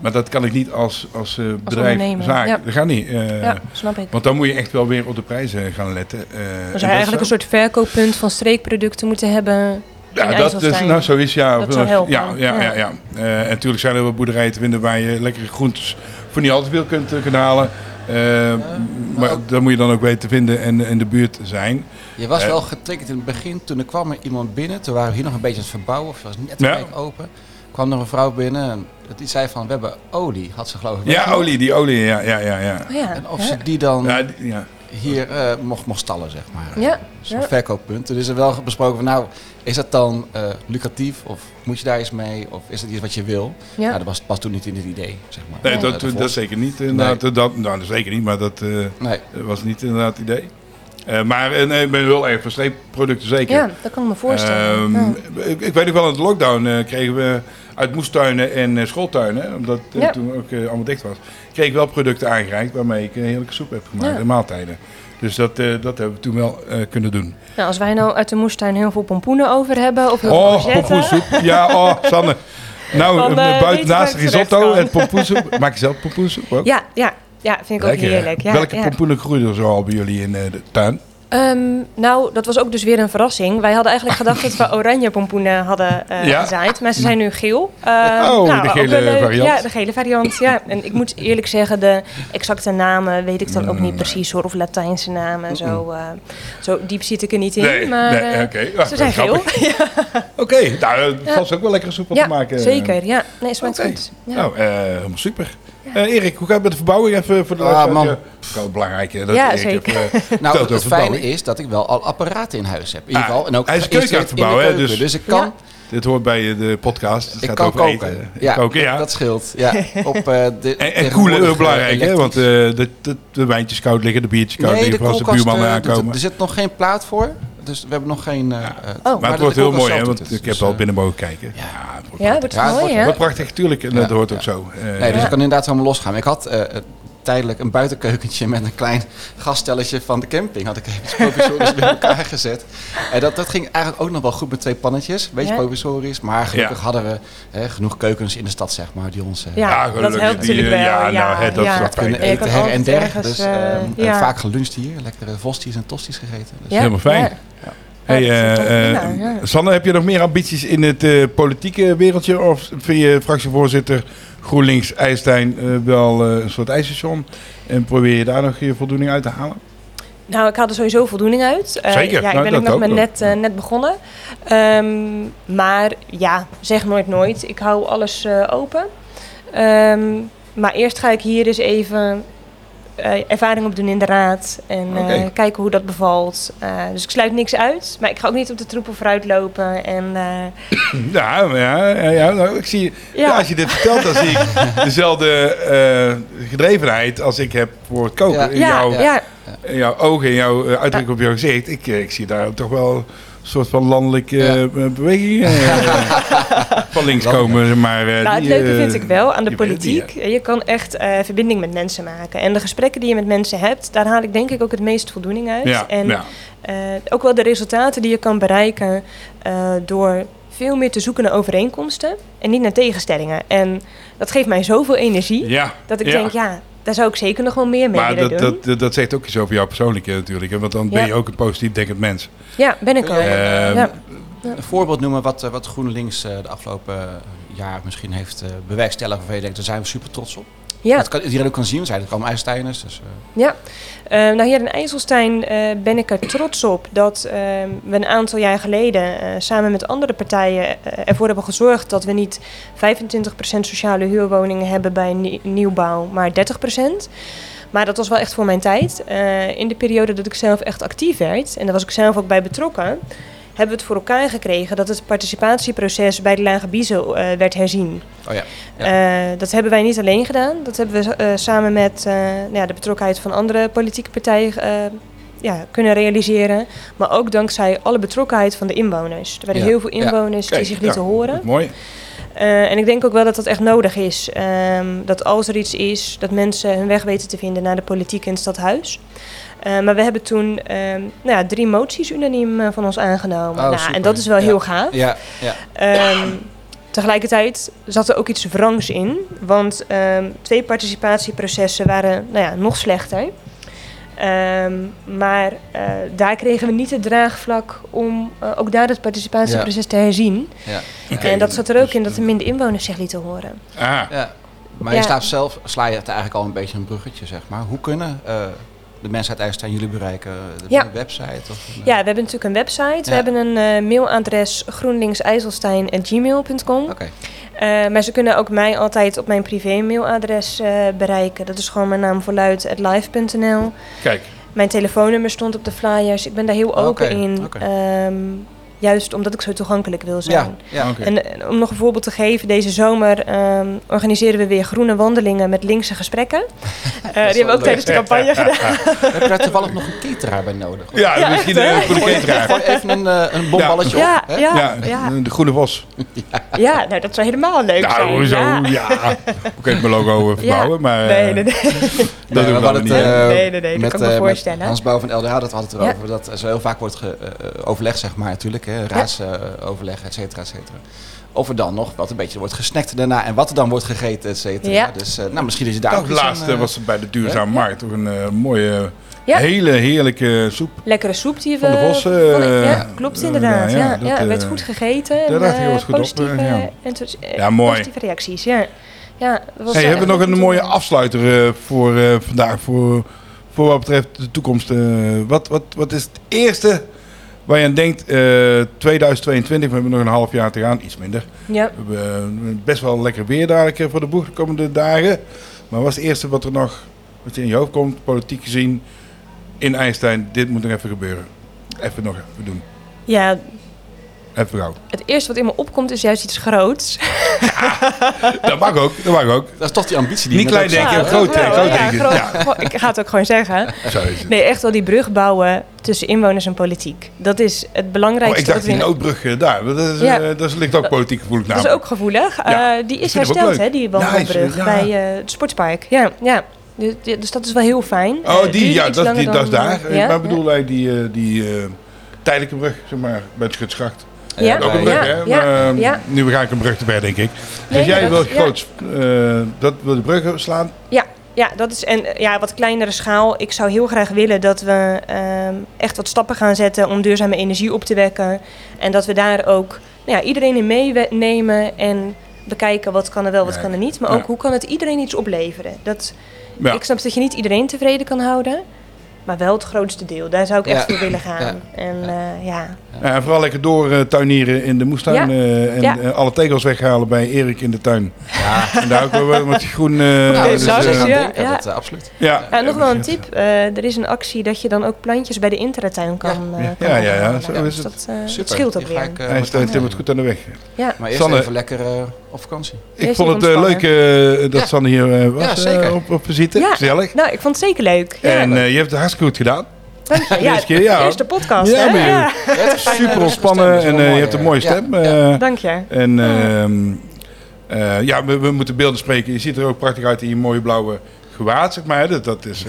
C: Maar dat kan ik niet als, als eh, bedrijf.
D: ondernemer,
C: zaak.
D: ja.
C: Dat gaat niet. eh,
D: Ja, snap ik.
C: Want dan moet je echt wel weer op de prijzen gaan letten. eh,
D: We
C: en
D: zou eigenlijk een
C: zo-
D: soort verkooppunt van streekproducten moeten hebben. in
C: Ja, dat is,
D: IJsselstein.
C: nou, zo is ja.
D: Dat
C: Of-
D: zou helpen.
C: Ja, ja, ja.
D: Ja.
C: ja, Eh, en natuurlijk zijn er wel boerderijen te vinden waar je lekkere groentes voor niet altijd veel kunt, eh, kunnen halen. Eh, maar dat moet je dan ook weten te vinden en in de buurt zijn.
E: Je was
C: Eh.
E: wel getriggerd in het begin. Toen er kwam er iemand binnen. Toen waren we hier nog een beetje aan het verbouwen. Of je was net een
C: Ja.
E: week open. kwam er een vrouw binnen. En die zei van, we hebben olie. Had ze geloof ik.
C: Ja,
E: meegenomen.
C: olie, die olie, ja, ja, ja. ja.
D: Oh, ja.
E: En of
D: ja.
E: ze die dan
C: ja, die- ja.
E: hier eh, mocht, mocht stallen, zeg maar.
D: Ja,
E: Zo'n
D: ja.
E: verkooppunt. Dus Er is er wel besproken van, nou, is dat dan eh, lucratief? Of moet je daar iets mee? Of is dat iets wat je wil?
D: Ja.
E: Nou, dat was, was toen niet in het idee, zeg maar.
C: Nee,
E: Eh,
C: dat,
E: de
C: dat
E: volks-
C: zeker niet. inderdaad.
E: Nee.
C: Dat, nou, dat zeker niet, maar dat... eh,
E: Nee.
C: Dat was niet inderdaad het idee. Eh, maar eh, nee, ik ben heel erg van streepproducten zeker.
D: ja, dat kan ik me voorstellen.
C: Ehm,
D: Ja.
C: ik, ik weet ook wel, in de lockdown eh, kregen we uit moestuinen en eh, schooltuinen, omdat eh,
D: Ja.
C: toen ook eh, allemaal dicht was, kreeg ik wel producten aangereikt waarmee ik een heerlijke soep heb gemaakt
D: Ja.
C: en maaltijden. Dus dat, eh, dat hebben we toen wel eh, kunnen doen.
D: Nou, als wij nou uit de moestuin heel veel pompoenen over hebben of heel veel
C: Oh,
D: courgetten.
C: pompoensoep. Ja, oh, Sanne. Nou,
D: Dan, eh, weet je
C: buiten naast
D: waar
C: de
D: ik terecht
C: risotto
D: kan.
C: en pompoensoep. Maak je zelf pompoensoep ook?
D: Ja, ja, ja, vind ik ook
C: Lekker, hè?
D: heerlijk. Ja,
C: Welke
D: ja.
C: pompoenen groeien er zo al bij jullie in eh, de tuin?
D: Ehm, nou, dat was ook dus weer een verrassing. Wij hadden eigenlijk gedacht dat we oranje pompoenen hadden eh
C: Ja.
D: gezaaid, maar ze zijn nu geel. Ehm,
C: Oh,
D: nou,
C: de
D: ook
C: gele
D: wel leuk.
C: variant.
D: Ja, de gele variant. Ja. En ik moet eerlijk zeggen, de exacte namen weet ik dan ook
C: Mm.
D: niet precies hoor. Of Latijnse namen, zo, eh, zo diep zit ik er niet in.
C: Nee,
D: maar
C: nee,
D: eh,
C: oké. Ah,
D: ze zijn geel.
C: grappig. Oké, nou, dat was ook wel lekkere soep om
D: ja,
C: te maken. eh.
D: zeker. Ja, nee, smaakt
C: Oké.
D: goed. Ja.
C: Nou, eh, helemaal super. Eh, Erik, hoe gaat het met de verbouwing even voor de
E: Ah,
C: luisteraar?
E: man.
C: Ja, Dat is wel belangrijk. hè, Dat
D: Ja,
C: Erik
D: zeker.
C: even, eh, vertelt
E: Nou,
C: over
E: het fijne
C: verbouwing.
E: is dat ik wel al apparaten in huis heb. In
C: Ah,
E: ieder geval. En ook
C: hij is de keuken aan het
E: geïnstalleerd in de
C: verbouwen, hè,
E: keuken. Dus
C: dus-
E: ik kan,
C: Dit hoort bij eh, de podcast. Het
E: ik
C: gaat
E: kan
C: over
E: koken.
C: eten. Ik
E: Ja,
C: koken, ja.
E: Dat scheelt. Ja. Op, eh, de,
C: En, en koelen, heel belangrijk, hè? Want eh,
E: de
C: de, de, de wijntjes koud liggen, de biertjes koud
E: nee, de
C: liggen, voor als de
E: koelkast,
C: buurman
E: eh,
C: aankomen.
E: er zit nog geen plaat voor. Dus we hebben nog geen... eh, eh,
D: Oh.
C: maar het
E: de
C: wordt heel
E: koelkast
C: mooi, hè?
E: zelf
C: Want
E: doet het.
C: ik heb
E: Dus,
C: al
E: eh,
C: binnen mogen kijken. Ja, het wordt
D: Ja,
C: prachtig.
D: wordt
E: Ja, het
D: mooi,
E: wordt-
D: hè?
C: Wat prachtig, tuurlijk. En dat
E: Ja,
C: hoort
E: ja.
C: ook zo. Eh,
E: Nee, dus
C: ja.
E: ik kan inderdaad helemaal losgaan. Maar Ik had eh, eh, tijdelijk een buitenkeukentje met een klein gasstelletje van de camping. Had ik even provisorisch bij elkaar gezet. En dat, dat ging eigenlijk ook nog wel goed met twee pannetjes. Beetje
D: Ja.
E: provisorisch. Maar gelukkig
C: Ja.
E: hadden we hè, genoeg keukens in de stad, zeg maar, die ons... eh,
D: Ja,
C: Ja,
D: dat
C: gelukkig.
D: helpt
C: Die,
D: natuurlijk
C: eh, ja,
D: wel.
C: nou, hè, dat- dat-
E: kunnen
C: Ja, je
E: eten
D: kan
E: her en
D: altijd
E: der.
D: ergens,
E: dus,
D: eh,
E: ehm, en
D: ja.
E: Vaak geluncht hier. Lekkere vostis en tosties gegeten. Dus,
D: Ja.
C: Helemaal fijn.
D: Ja.
C: Hey,
D: Ja, dat is
C: eh,
D: een
C: eh,
D: topwinnaar, ja.
C: Sanne, heb je nog meer ambities in het eh, politieke wereldje? Of vind je fractievoorzitter GroenLinks IJstein eh, wel eh, een soort ijsstation? En probeer je daar nog je voldoening uit te halen?
D: Nou, ik haal er sowieso voldoening uit. Eh,
C: Zeker.
D: Ja, ik
C: Nou,
D: ben
C: dat
D: ook nog
C: ook
D: maar
C: wel.
D: net, eh, net begonnen. Ehm, maar ja, zeg nooit nooit. Ik hou alles eh, open. Ehm, maar eerst ga ik hier eens even eh, ervaring opdoen in de raad. En eh,
C: Oké.
D: kijken hoe dat bevalt. Eh, dus ik sluit niks uit. Maar ik ga ook niet op de troepen vooruit lopen. En eh,
C: Ja, maar ja, ja, ja nou, ik zie,
D: Ja.
C: ja, als je dit vertelt, dan zie ik dezelfde eh, gedrevenheid als ik heb voor het koken.
E: Ja.
C: In,
D: ja,
C: jouw,
D: ja,
C: in jouw ogen, in jouw eh, uitdrukking op jouw gezicht. Ik, eh, ik zie daar toch wel een soort van landelijke
E: Ja.
C: eh, beweging eh, van links komen. zeg Maar, eh,
D: Nou, het
C: die,
D: leuke
C: eh,
D: vind ik wel aan de
C: je weet het niet,
D: politiek. Je kan echt eh, verbinding met mensen maken. En de gesprekken die je met mensen hebt, daar haal ik denk ik ook het meest voldoening uit.
C: ja,
D: en
C: ja.
D: eh, ook wel de resultaten die je kan bereiken eh, door veel meer te zoeken naar overeenkomsten en niet naar tegenstellingen. En dat geeft mij zoveel energie
C: Ja,
D: dat ik
C: ja.
D: denk, ja, daar zou ik zeker nog wel meer mee
C: maar
D: willen
C: dat,
D: doen.
C: dat, dat, dat zegt ook iets over jou persoonlijk hè, natuurlijk. hè, Want dan ben
D: Ja.
C: je ook een positief denkend mens.
D: Ja, ben ik ook.
C: Ehm,
D: ja.
E: Een voorbeeld noemen wat, eh, wat GroenLinks eh, de afgelopen jaar misschien heeft eh bewerkstelligd. Waarvan je denkt, daar zijn we super trots op.
D: Ja.
E: Dat kan, iedereen ook kan zien. We zijn allemaal IJssteiners. Dus, eh,
D: Ja, Eh, nou hier in IJsselstein eh, ben ik er trots op dat eh, we een aantal jaar geleden eh, samen met andere partijen eh, ervoor hebben gezorgd dat we niet 25% sociale huurwoningen hebben bij nie- nieuwbouw, maar 30%. Maar dat was wel echt voor mijn tijd. Eh, in de periode dat ik zelf echt actief werd, en daar was ik zelf ook bij betrokken, hebben we het voor elkaar gekregen dat het participatieproces bij de Lage Biezen eh, werd herzien.
E: oh ja.
D: Eh, dat hebben wij niet alleen gedaan. Dat hebben we eh, samen met eh, nou ja, de betrokkenheid van andere politieke partijen eh, ja, kunnen realiseren. Maar ook dankzij alle betrokkenheid van de inwoners. Er waren
E: Ja, Mhm.
D: heel veel
E: ja.
D: inwoners die
C: Kijk,
D: zich lieten
C: ja,
D: horen.
C: Mooi.
D: Eh, en ik denk ook wel dat dat echt nodig is. Ehm, dat als er iets is, dat mensen hun weg weten te vinden naar de politiek in het stadhuis. Eh, maar we hebben toen ehm, nou ja, drie moties unaniem eh, van ons aangenomen.
E: Oh,
D: nou,
E: super.
D: en dat is wel
E: Ja.
D: heel gaaf.
E: Ja, ja.
D: Ehm, tegelijkertijd zat er ook iets wrangs in. Want ehm, twee participatieprocessen waren nou ja, nog slechter. Ehm, maar eh, daar kregen we niet het draagvlak om eh, ook daar het participatieproces te herzien.
E: ja.
C: Oké.
D: en dat zat er ook
C: dus-
D: in dat er minder inwoners zich lieten horen.
C: Ah,
E: Ja. Maar
D: Ja.
E: je staat zelf, sla je het eigenlijk al een beetje een bruggetje, zeg maar. Hoe kunnen eh, de mensen uit IJsselstein jullie bereiken? De
D: Ja.
E: een website? Of een, eh,
D: Ja, we hebben natuurlijk een website. We
E: Ja.
D: hebben een eh, mailadres groenlinksijzelstein.gmail.com.
E: Oké.
D: Eh, maar ze kunnen ook mij altijd op mijn privé-mailadres eh, bereiken. Dat is gewoon mijn naam voorluid.live.nl.
C: kijk.
D: Mijn telefoonnummer stond op de flyers. Ik ben daar heel open
E: Oké,
D: in.
E: oké.
D: Ehm, juist omdat ik zo toegankelijk wil zijn.
E: Ja, ja.
C: Oké.
D: En eh, om nog een voorbeeld te geven, deze zomer ehm, organiseren we weer groene wandelingen met linkse gesprekken. Eh, die hebben we ook
E: leuk.
D: tijdens de campagne gedaan.
E: Heb je daar toevallig nog een cateraar bij nodig?
C: Ja,
D: Ja,
C: misschien
D: echt, hè?
C: eh, voor de cateraar.
E: Gooi even een, eh, een bomballetje
D: Ja,
E: op. Hè?
D: ja,
C: Ja,
D: ja, ja,
C: de Groene Vos.
D: nou dat zou helemaal leuk zijn.
C: Nou, hoezo?
D: Ja.
C: Ja. Ik kan mijn logo eh, verbouwen, maar eh,
D: Nee, nee, nee.
C: dat doen we
E: hadden
C: dan niet.
E: het, eh,
D: Nee, nee, nee, dat kan ik me
E: eh,
D: voorstellen.
E: Hans Bouw van LDH, dat had het
D: Ja.
E: erover. Dat er zo heel vaak wordt ge, eh, eh, overlegd, zeg maar, natuurlijk. hè, Raadsoverleg, et cetera, et cetera. Of er dan nog wat een beetje wordt gesnackt daarna. En wat er dan wordt gegeten, et cetera.
D: Ja.
E: Dus eh, nou, misschien is het daar
C: Nou,
E: ook
C: het
E: iets
C: laatste
E: aan, eh,
C: was er bij de Duurzame Markt toch een eh, mooie
D: Ja.
C: Hele heerlijke soep.
D: Lekkere soep die we...
C: Van de Vossen,
D: vonden-
C: eh,
D: ja, klopt
C: eh,
D: inderdaad.
C: nou ja,
D: ja, ja,
C: dat,
D: er werd
C: eh,
D: goed gegeten.
C: daar
D: en,
C: dacht ik
D: eh,
C: wel eens goed op,
D: positieve,
C: eh, ja.
D: enthousi- eh,
C: Ja, mooi.
D: positieve reacties, ja. ja dat was eh,
C: Hey,
D: echt
C: hebben we nog
D: goed
C: een
D: om te
C: mooie
D: doen.
C: afsluiter eh, voor eh, vandaag, voor, voor wat betreft de toekomst. eh, wat, wat, wat is het eerste waar je aan denkt, eh, 2022, we hebben nog een half jaar te gaan, iets minder.
D: Ja.
C: We hebben eh, best wel lekker weer dadelijk eh, voor de boeg de komende dagen. Maar wat is het eerste wat er nog, wat je in je hoofd komt, politiek gezien, in IJstein, dit moet nog even gebeuren. Even nog even doen.
D: ja,
C: Even gauw.
D: het eerste wat in me opkomt is juist iets groots.
C: Dat mag ook, dat mag ook.
E: Dat is toch die ambitie die
C: Niet
E: je net
C: klein
E: ook
C: denken,
E: zegt, hè?
C: groot
D: Ja, dat wel.
C: denken, groot
D: Ja,
C: denken.
D: groot. Ik ga het ook gewoon zeggen.
C: Zo is het.
D: Nee, echt wel die brug bouwen tussen inwoners en politiek. Dat is het
C: Oh,
D: belangrijkste.
C: ik dacht
D: wat we
C: die
D: in-
C: noodbrug eh, daar, dat, is,
D: Ja.
C: eh, dat ligt ook politiek gevoelig
D: dat
C: namelijk.
D: is ook gevoelig.
C: Ja,
D: Eh, die
C: dat
D: is
C: vind ik ook
D: hersteld,
C: leuk.
D: hè, die
C: Ja,
D: wandelbrug
C: is- ja.
D: bij eh, het sportpark. Ja, ja. Dus, dus dat is wel heel fijn. Eh,
C: Oh,
D: het
C: die,
D: duurde
C: ja,
D: iets
C: dat, is die,
D: langer
C: dat is
D: dan,
C: daar.
D: eh,
C: Eh,
D: ja,
C: maar
D: ja.
C: bedoel hij die, eh, die eh, tijdelijke brug, zeg maar, bij het Schutsgracht.
D: Ja.
C: Ook een brug, hè?
D: ja,
C: Maar, eh,
D: ja.
C: Nu ga ik een brug te ver, denk ik.
D: Nee,
C: dus jij
D: dat-
C: wil
D: ja.
C: groots, eh, dat wil de brug slaan.
D: Ja, ja, dat is en eh, ja, wat kleinere schaal. Ik zou heel graag willen dat we ehm, echt wat stappen gaan zetten om duurzame energie op te wekken. En dat we daar ook nou ja, iedereen in meenemen en bekijken wat kan er wel, wat
C: Ja.
D: kan er niet. Maar
C: Ja.
D: ook hoe kan het iedereen iets opleveren. Dat,
C: Ja.
D: Ik snap dat je niet iedereen tevreden kan houden. Maar wel het grootste deel. Daar zou ik echt
E: Ja.
D: voor willen gaan. En eh, ja.
C: Ja, en vooral lekker doortuinieren in de moestuin.
D: Ja.
C: eh, en
D: Ja.
C: eh, alle tegels weghalen bij Erik in de tuin.
E: Ja.
C: En daar ook wel wat met groen... eh,
E: Nou,
D: dat
E: dus,
D: zou
E: eh,
D: ik
E: aan
D: ja,
E: denken,
D: ja.
E: dat, eh, absoluut.
C: ja.
D: Ja, nog wel een tip. Eh, er is een actie dat je dan ook plantjes bij de Interatuin kan, eh, kan
C: Ja, ja, ja,
D: ophalen.
C: zo is het.
D: Dus dat, eh,
E: Super.
D: dat scheelt ook
E: Die ga
D: weer.
E: ik, eh,
C: Hij
E: meteen
C: staat
E: doen.
C: timmert goed aan de weg.
D: Ja.
E: Maar eerst
C: Sanne.
E: even lekker eh, op vakantie.
C: Ik
D: Eerst
C: vond
D: even
C: het eh, leuk
D: ontspannen.
C: eh, dat
E: Ja.
C: Sanne hier eh, was
E: Ja, zeker.
C: eh, op, op visite.
D: Ja.
C: Gezellig.
D: Nou, ik vond het zeker leuk. Ja,
C: En eh, je hebt het hartstikke goed gedaan.
D: dank je. Ja,
C: eerste keer, ja.
D: de eerste podcast,
C: Ja,
D: hè?
C: maar je-
D: Ja,
C: Super ontspannen en eh, je hebt een mooie stem.
E: Ja, ja.
C: eh,
D: dank je.
C: En ehm, eh, ja, we, we moeten beelden spreken. Je ziet er ook prachtig uit in je mooie blauwe gewaad, zeg maar. hè. Dat, dat is...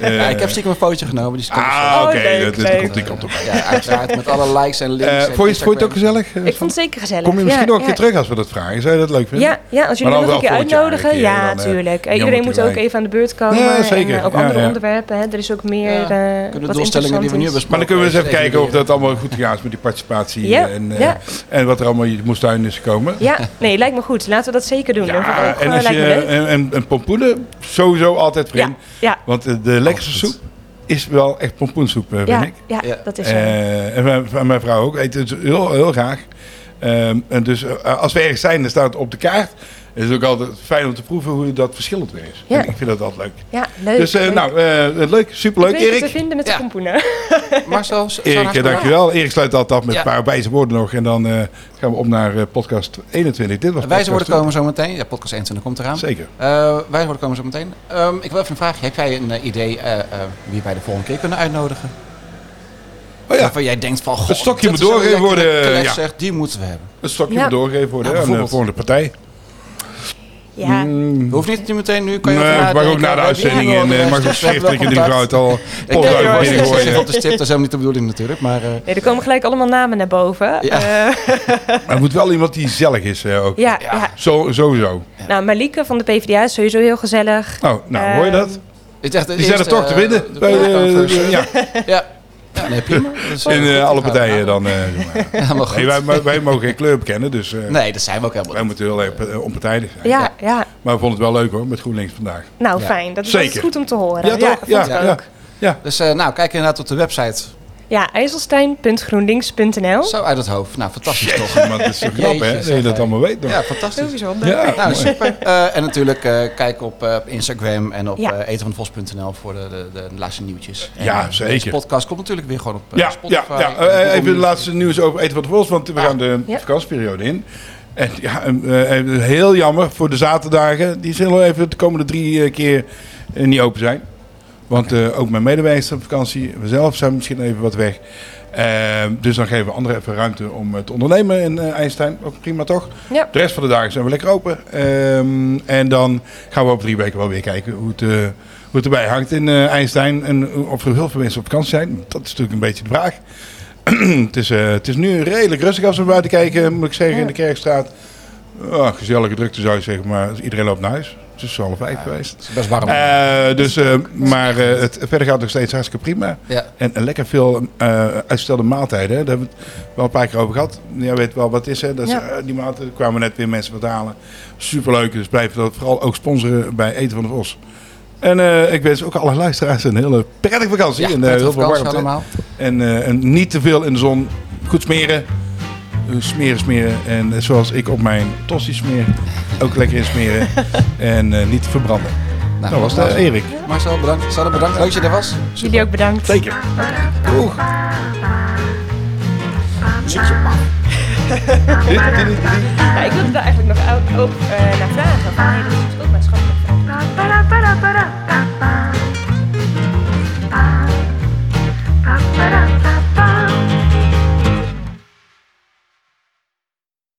C: eh, eh,
E: Ja, ik heb stiekem een fotootje genomen. Dus ik kan
C: Ah,
D: Oh,
C: oké.
D: leuk,
C: dat- dat
D: leuk.
C: komt die kant op.
E: Eh, Ja, uiteraard. Met alle likes en links.
C: Eh,
E: en
C: vond, je, vond je het ook
E: Instagram.
C: gezellig? Eh,
D: Ik vond het zeker gezellig.
C: Kom je misschien
D: ja,
C: nog een
D: ja.
C: keer terug als we dat vragen? Zou je dat leuk vinden?
D: Ja, ja, als jullie
C: Maar
D: me
C: dan
D: nog een
C: wel
D: keer
C: volgend jaar een
D: uitnodigen.
C: keer,
D: ja,
C: dan, eh,
D: tuurlijk. Eh,
C: jammer
D: iedereen moet
C: natuurlijk.
D: ook even aan de beurt komen.
C: Ja,
D: en,
C: zeker.
D: eh, ook
C: Ja,
D: andere
C: ja.
D: onderwerpen. Hè. Er is ook meer
E: Ja.
D: eh
E: Kunnen de
D: wat
E: doelstellingen die we nu
D: interessant
E: hebben
D: is.
C: Maar dan kunnen we eens even kijken of dat allemaal goed gegaan is met die participatie.
D: Ja,
C: eh, en, eh,
D: ja.
C: en wat er allemaal in je moestuin is gekomen.
D: Ja, nee, lijkt me goed. Laten we dat zeker doen. dat vind ik ook,
C: en,
D: eh,
C: als
D: lijkt
C: je,
D: me leuk.
C: en, en, en pompoenen, sowieso altijd
D: Ja,
C: vreemd.
D: ja,
C: Want eh, de lekkerste
E: Altijd.
C: soep is wel echt pompoensoep, eh, vind
D: ja,
C: ik.
D: ja,
E: Ja.
D: dat is zo.
C: Eh, en mijn, en mijn vrouw ook. Eet het heel, heel graag. Ehm, en dus eh, als we ergens zijn, dan staat het op de kaart. Het is ook altijd fijn om te proeven hoe dat verschillend weer is.
D: Ja.
C: En ik vind dat altijd leuk.
D: ja, leuk.
C: dus eh,
D: leuk.
C: nou, eh, leuk. Superleuk,
D: Ik weet wat
C: Erik.
D: te vinden met
E: Ja.
D: de pompoenen.
E: Marcel, zo- zo'n
C: Erik, eh,
E: hartstikke
C: dankjewel. Erik sluit altijd af met
E: Ja.
C: een paar wijze woorden nog. En dan eh, gaan we op naar eh, podcast 21. Dit was
E: bedankt. Wijze
C: podcast
E: woorden komen zo meteen. Ja, podcast 21 komt eraan.
C: 20. Zeker.
E: Eh, wijze woorden komen zo meteen. Ehm, ik wil even een vraag. Heb jij een eh, idee eh, eh, wie wij de volgende keer kunnen uitnodigen?
C: Oh ja,
E: Waarvan jij denkt van... Goh,
C: Het stokje
E: dat
C: moet
E: is een
C: doorgegeven
E: lekkere
C: worden,
E: klets,
C: ja.
E: zeg, die moeten we hebben.
C: een stokje
D: Ja.
C: moet doorgegeven worden
E: Ja,
C: hè, aan de
E: bijvoorbeeld.
C: volgende partij.
D: Ja,
C: Mm.
E: Hoeft niet nu meteen, nu kan
C: Nee,
E: je over
C: maar ook
E: nadenken.
C: na de
E: We hebben
C: uitzending
E: hier
C: en
E: wel
C: eh,
E: de
C: mag ook
E: rest. We hebben
C: schriftelijk
E: wel
C: in de
E: contact.
C: vrouwt al
E: Ik denk
C: postduif
D: hoor,
E: dat
D: binnen
E: je
C: binnengooien.
E: zit op de stip, dat is helemaal niet de bedoeling natuurlijk. Maar eh,
D: nee, er komen gelijk allemaal namen naar boven.
E: Ja.
D: Eh,
C: Maar het moet wel iemand die gezellig is eh, ook.
D: ja, ja.
C: Zo, sowieso.
D: Nou, Malike van de PvdA is sowieso heel gezellig.
C: Nou, nou hoor je
D: Ehm,
C: dat?
E: het is echt de
C: Die zijn er
E: eerste,
C: toch te
E: eh,
C: winnen.
E: de
C: Bij de-
E: conference.
C: ja,
E: Ja. Ja, nee, prima. Dat is, eh,
C: eh. in eh,
E: goed
C: alle
E: onthouden.
C: partijen dan. eh, zeg maar.
E: Ja, maar goed.
C: Nee, wij, wij- wij mogen geen kleur bekennen, dus eh,
E: Nee, dat zijn we ook
C: wij
E: helemaal niet.
C: moeten heel erg eh, onpartijdig zijn.
D: Ja, ja.
C: Maar we vonden het wel leuk hoor, met GroenLinks vandaag.
D: Nou,
E: Ja.
D: fijn. Dat is
C: Zeker.
D: altijd goed om te horen.
C: Ja, toch?
D: vond
C: Ja,
D: ik
C: ja,
D: ook.
C: ja.
E: Dus eh, nou, kijk inderdaad op de website.
D: Ja, ijzelstein.groenlinks.nl.
E: Zo uit het hoofd. Nou, fantastisch toch?
C: Toch, maar het is zo knap hè,
E: Jeetje,
C: dat je dat allemaal weet. nog.
E: Ja, fantastisch.
D: bijzonder.
C: Ja,
E: Nou, super. Eh, en natuurlijk eh, kijk op eh, op Instagram en op
D: Ja.
E: eh, etenvandevos.nl voor de, de, de laatste nieuwtjes. En,
C: Ja,
E: eh,
C: zeker.
E: Deze podcast komt natuurlijk weer gewoon op eh,
C: ja, ja,
E: Spotify.
C: ja.
E: en
C: Eh,
E: Google
C: even het
E: Music. Ah.
C: laatste nieuws over Eten van de Vos, want we gaan de
D: Ja.
C: vakantieperiode in. En ja, eh, eh, heel jammer voor de zaterdagen. Die zullen even de komende drie eh, keer eh, niet open zijn. Want eh, ook mijn medewerkers zijn op vakantie. We zelf zijn misschien even wat weg. Eh, dus dan geven we anderen even ruimte om eh, te ondernemen in eh IJsselstein. Ook prima toch?
D: Ja.
C: De rest van de dagen zijn we lekker open. Ehm, en dan gaan we over drie weken wel weer kijken hoe het, eh, hoe het erbij hangt in eh IJsselstein. En of er heel veel mensen op vakantie zijn. Dat is natuurlijk een beetje de vraag. het, is, eh, het is nu redelijk rustig als we buiten kijken, moet ik zeggen, in de Kerkstraat. Ah, gezellige drukte zou je zeggen, maar iedereen loopt naar huis. tussen half vijf geweest.
F: Het is best warm.
C: Eh, dus, eh, maar eh, het, verder gaat het nog steeds hartstikke prima.
F: ja.
C: En, en lekker veel eh, uitgestelde maaltijden. Hè. Daar hebben we het wel een paar keer over gehad. Jij weet wel wat het is. Hè. Dat is,
D: Ja.
C: eh, die maaltijden kwamen net weer mensen wat halen. Superleuk. Dus blijf dat vooral ook sponsoren bij Eten van de Vos. En eh, ik wens ook alle luisteraars een hele prettige vakantie.
F: Ja,
C: en eh,
F: prettige
C: heel veel
F: vakantie
C: warmte.
F: allemaal.
C: En, eh, en niet te veel in de zon. Goed smeren. Eh, Smeren, smeren. En eh, zoals ik op mijn tossie smeer, ook lekker insmeren. en eh, niet verbranden.
E: Nou,
C: Dat was het,
E: Marcel.
C: Erik.
E: Marcel, bedankt. Sanne, bedankt. Leuk dat je er was.
D: Jullie ook bedankt.
C: Zeker. Oeh.
D: Ja, ik wilde daar eigenlijk nog ook, ook, eh, naar vragen. Van, hey, dat is ook maatschappelijk.
B: pa, pa, pa, pa, pa, pa, pa.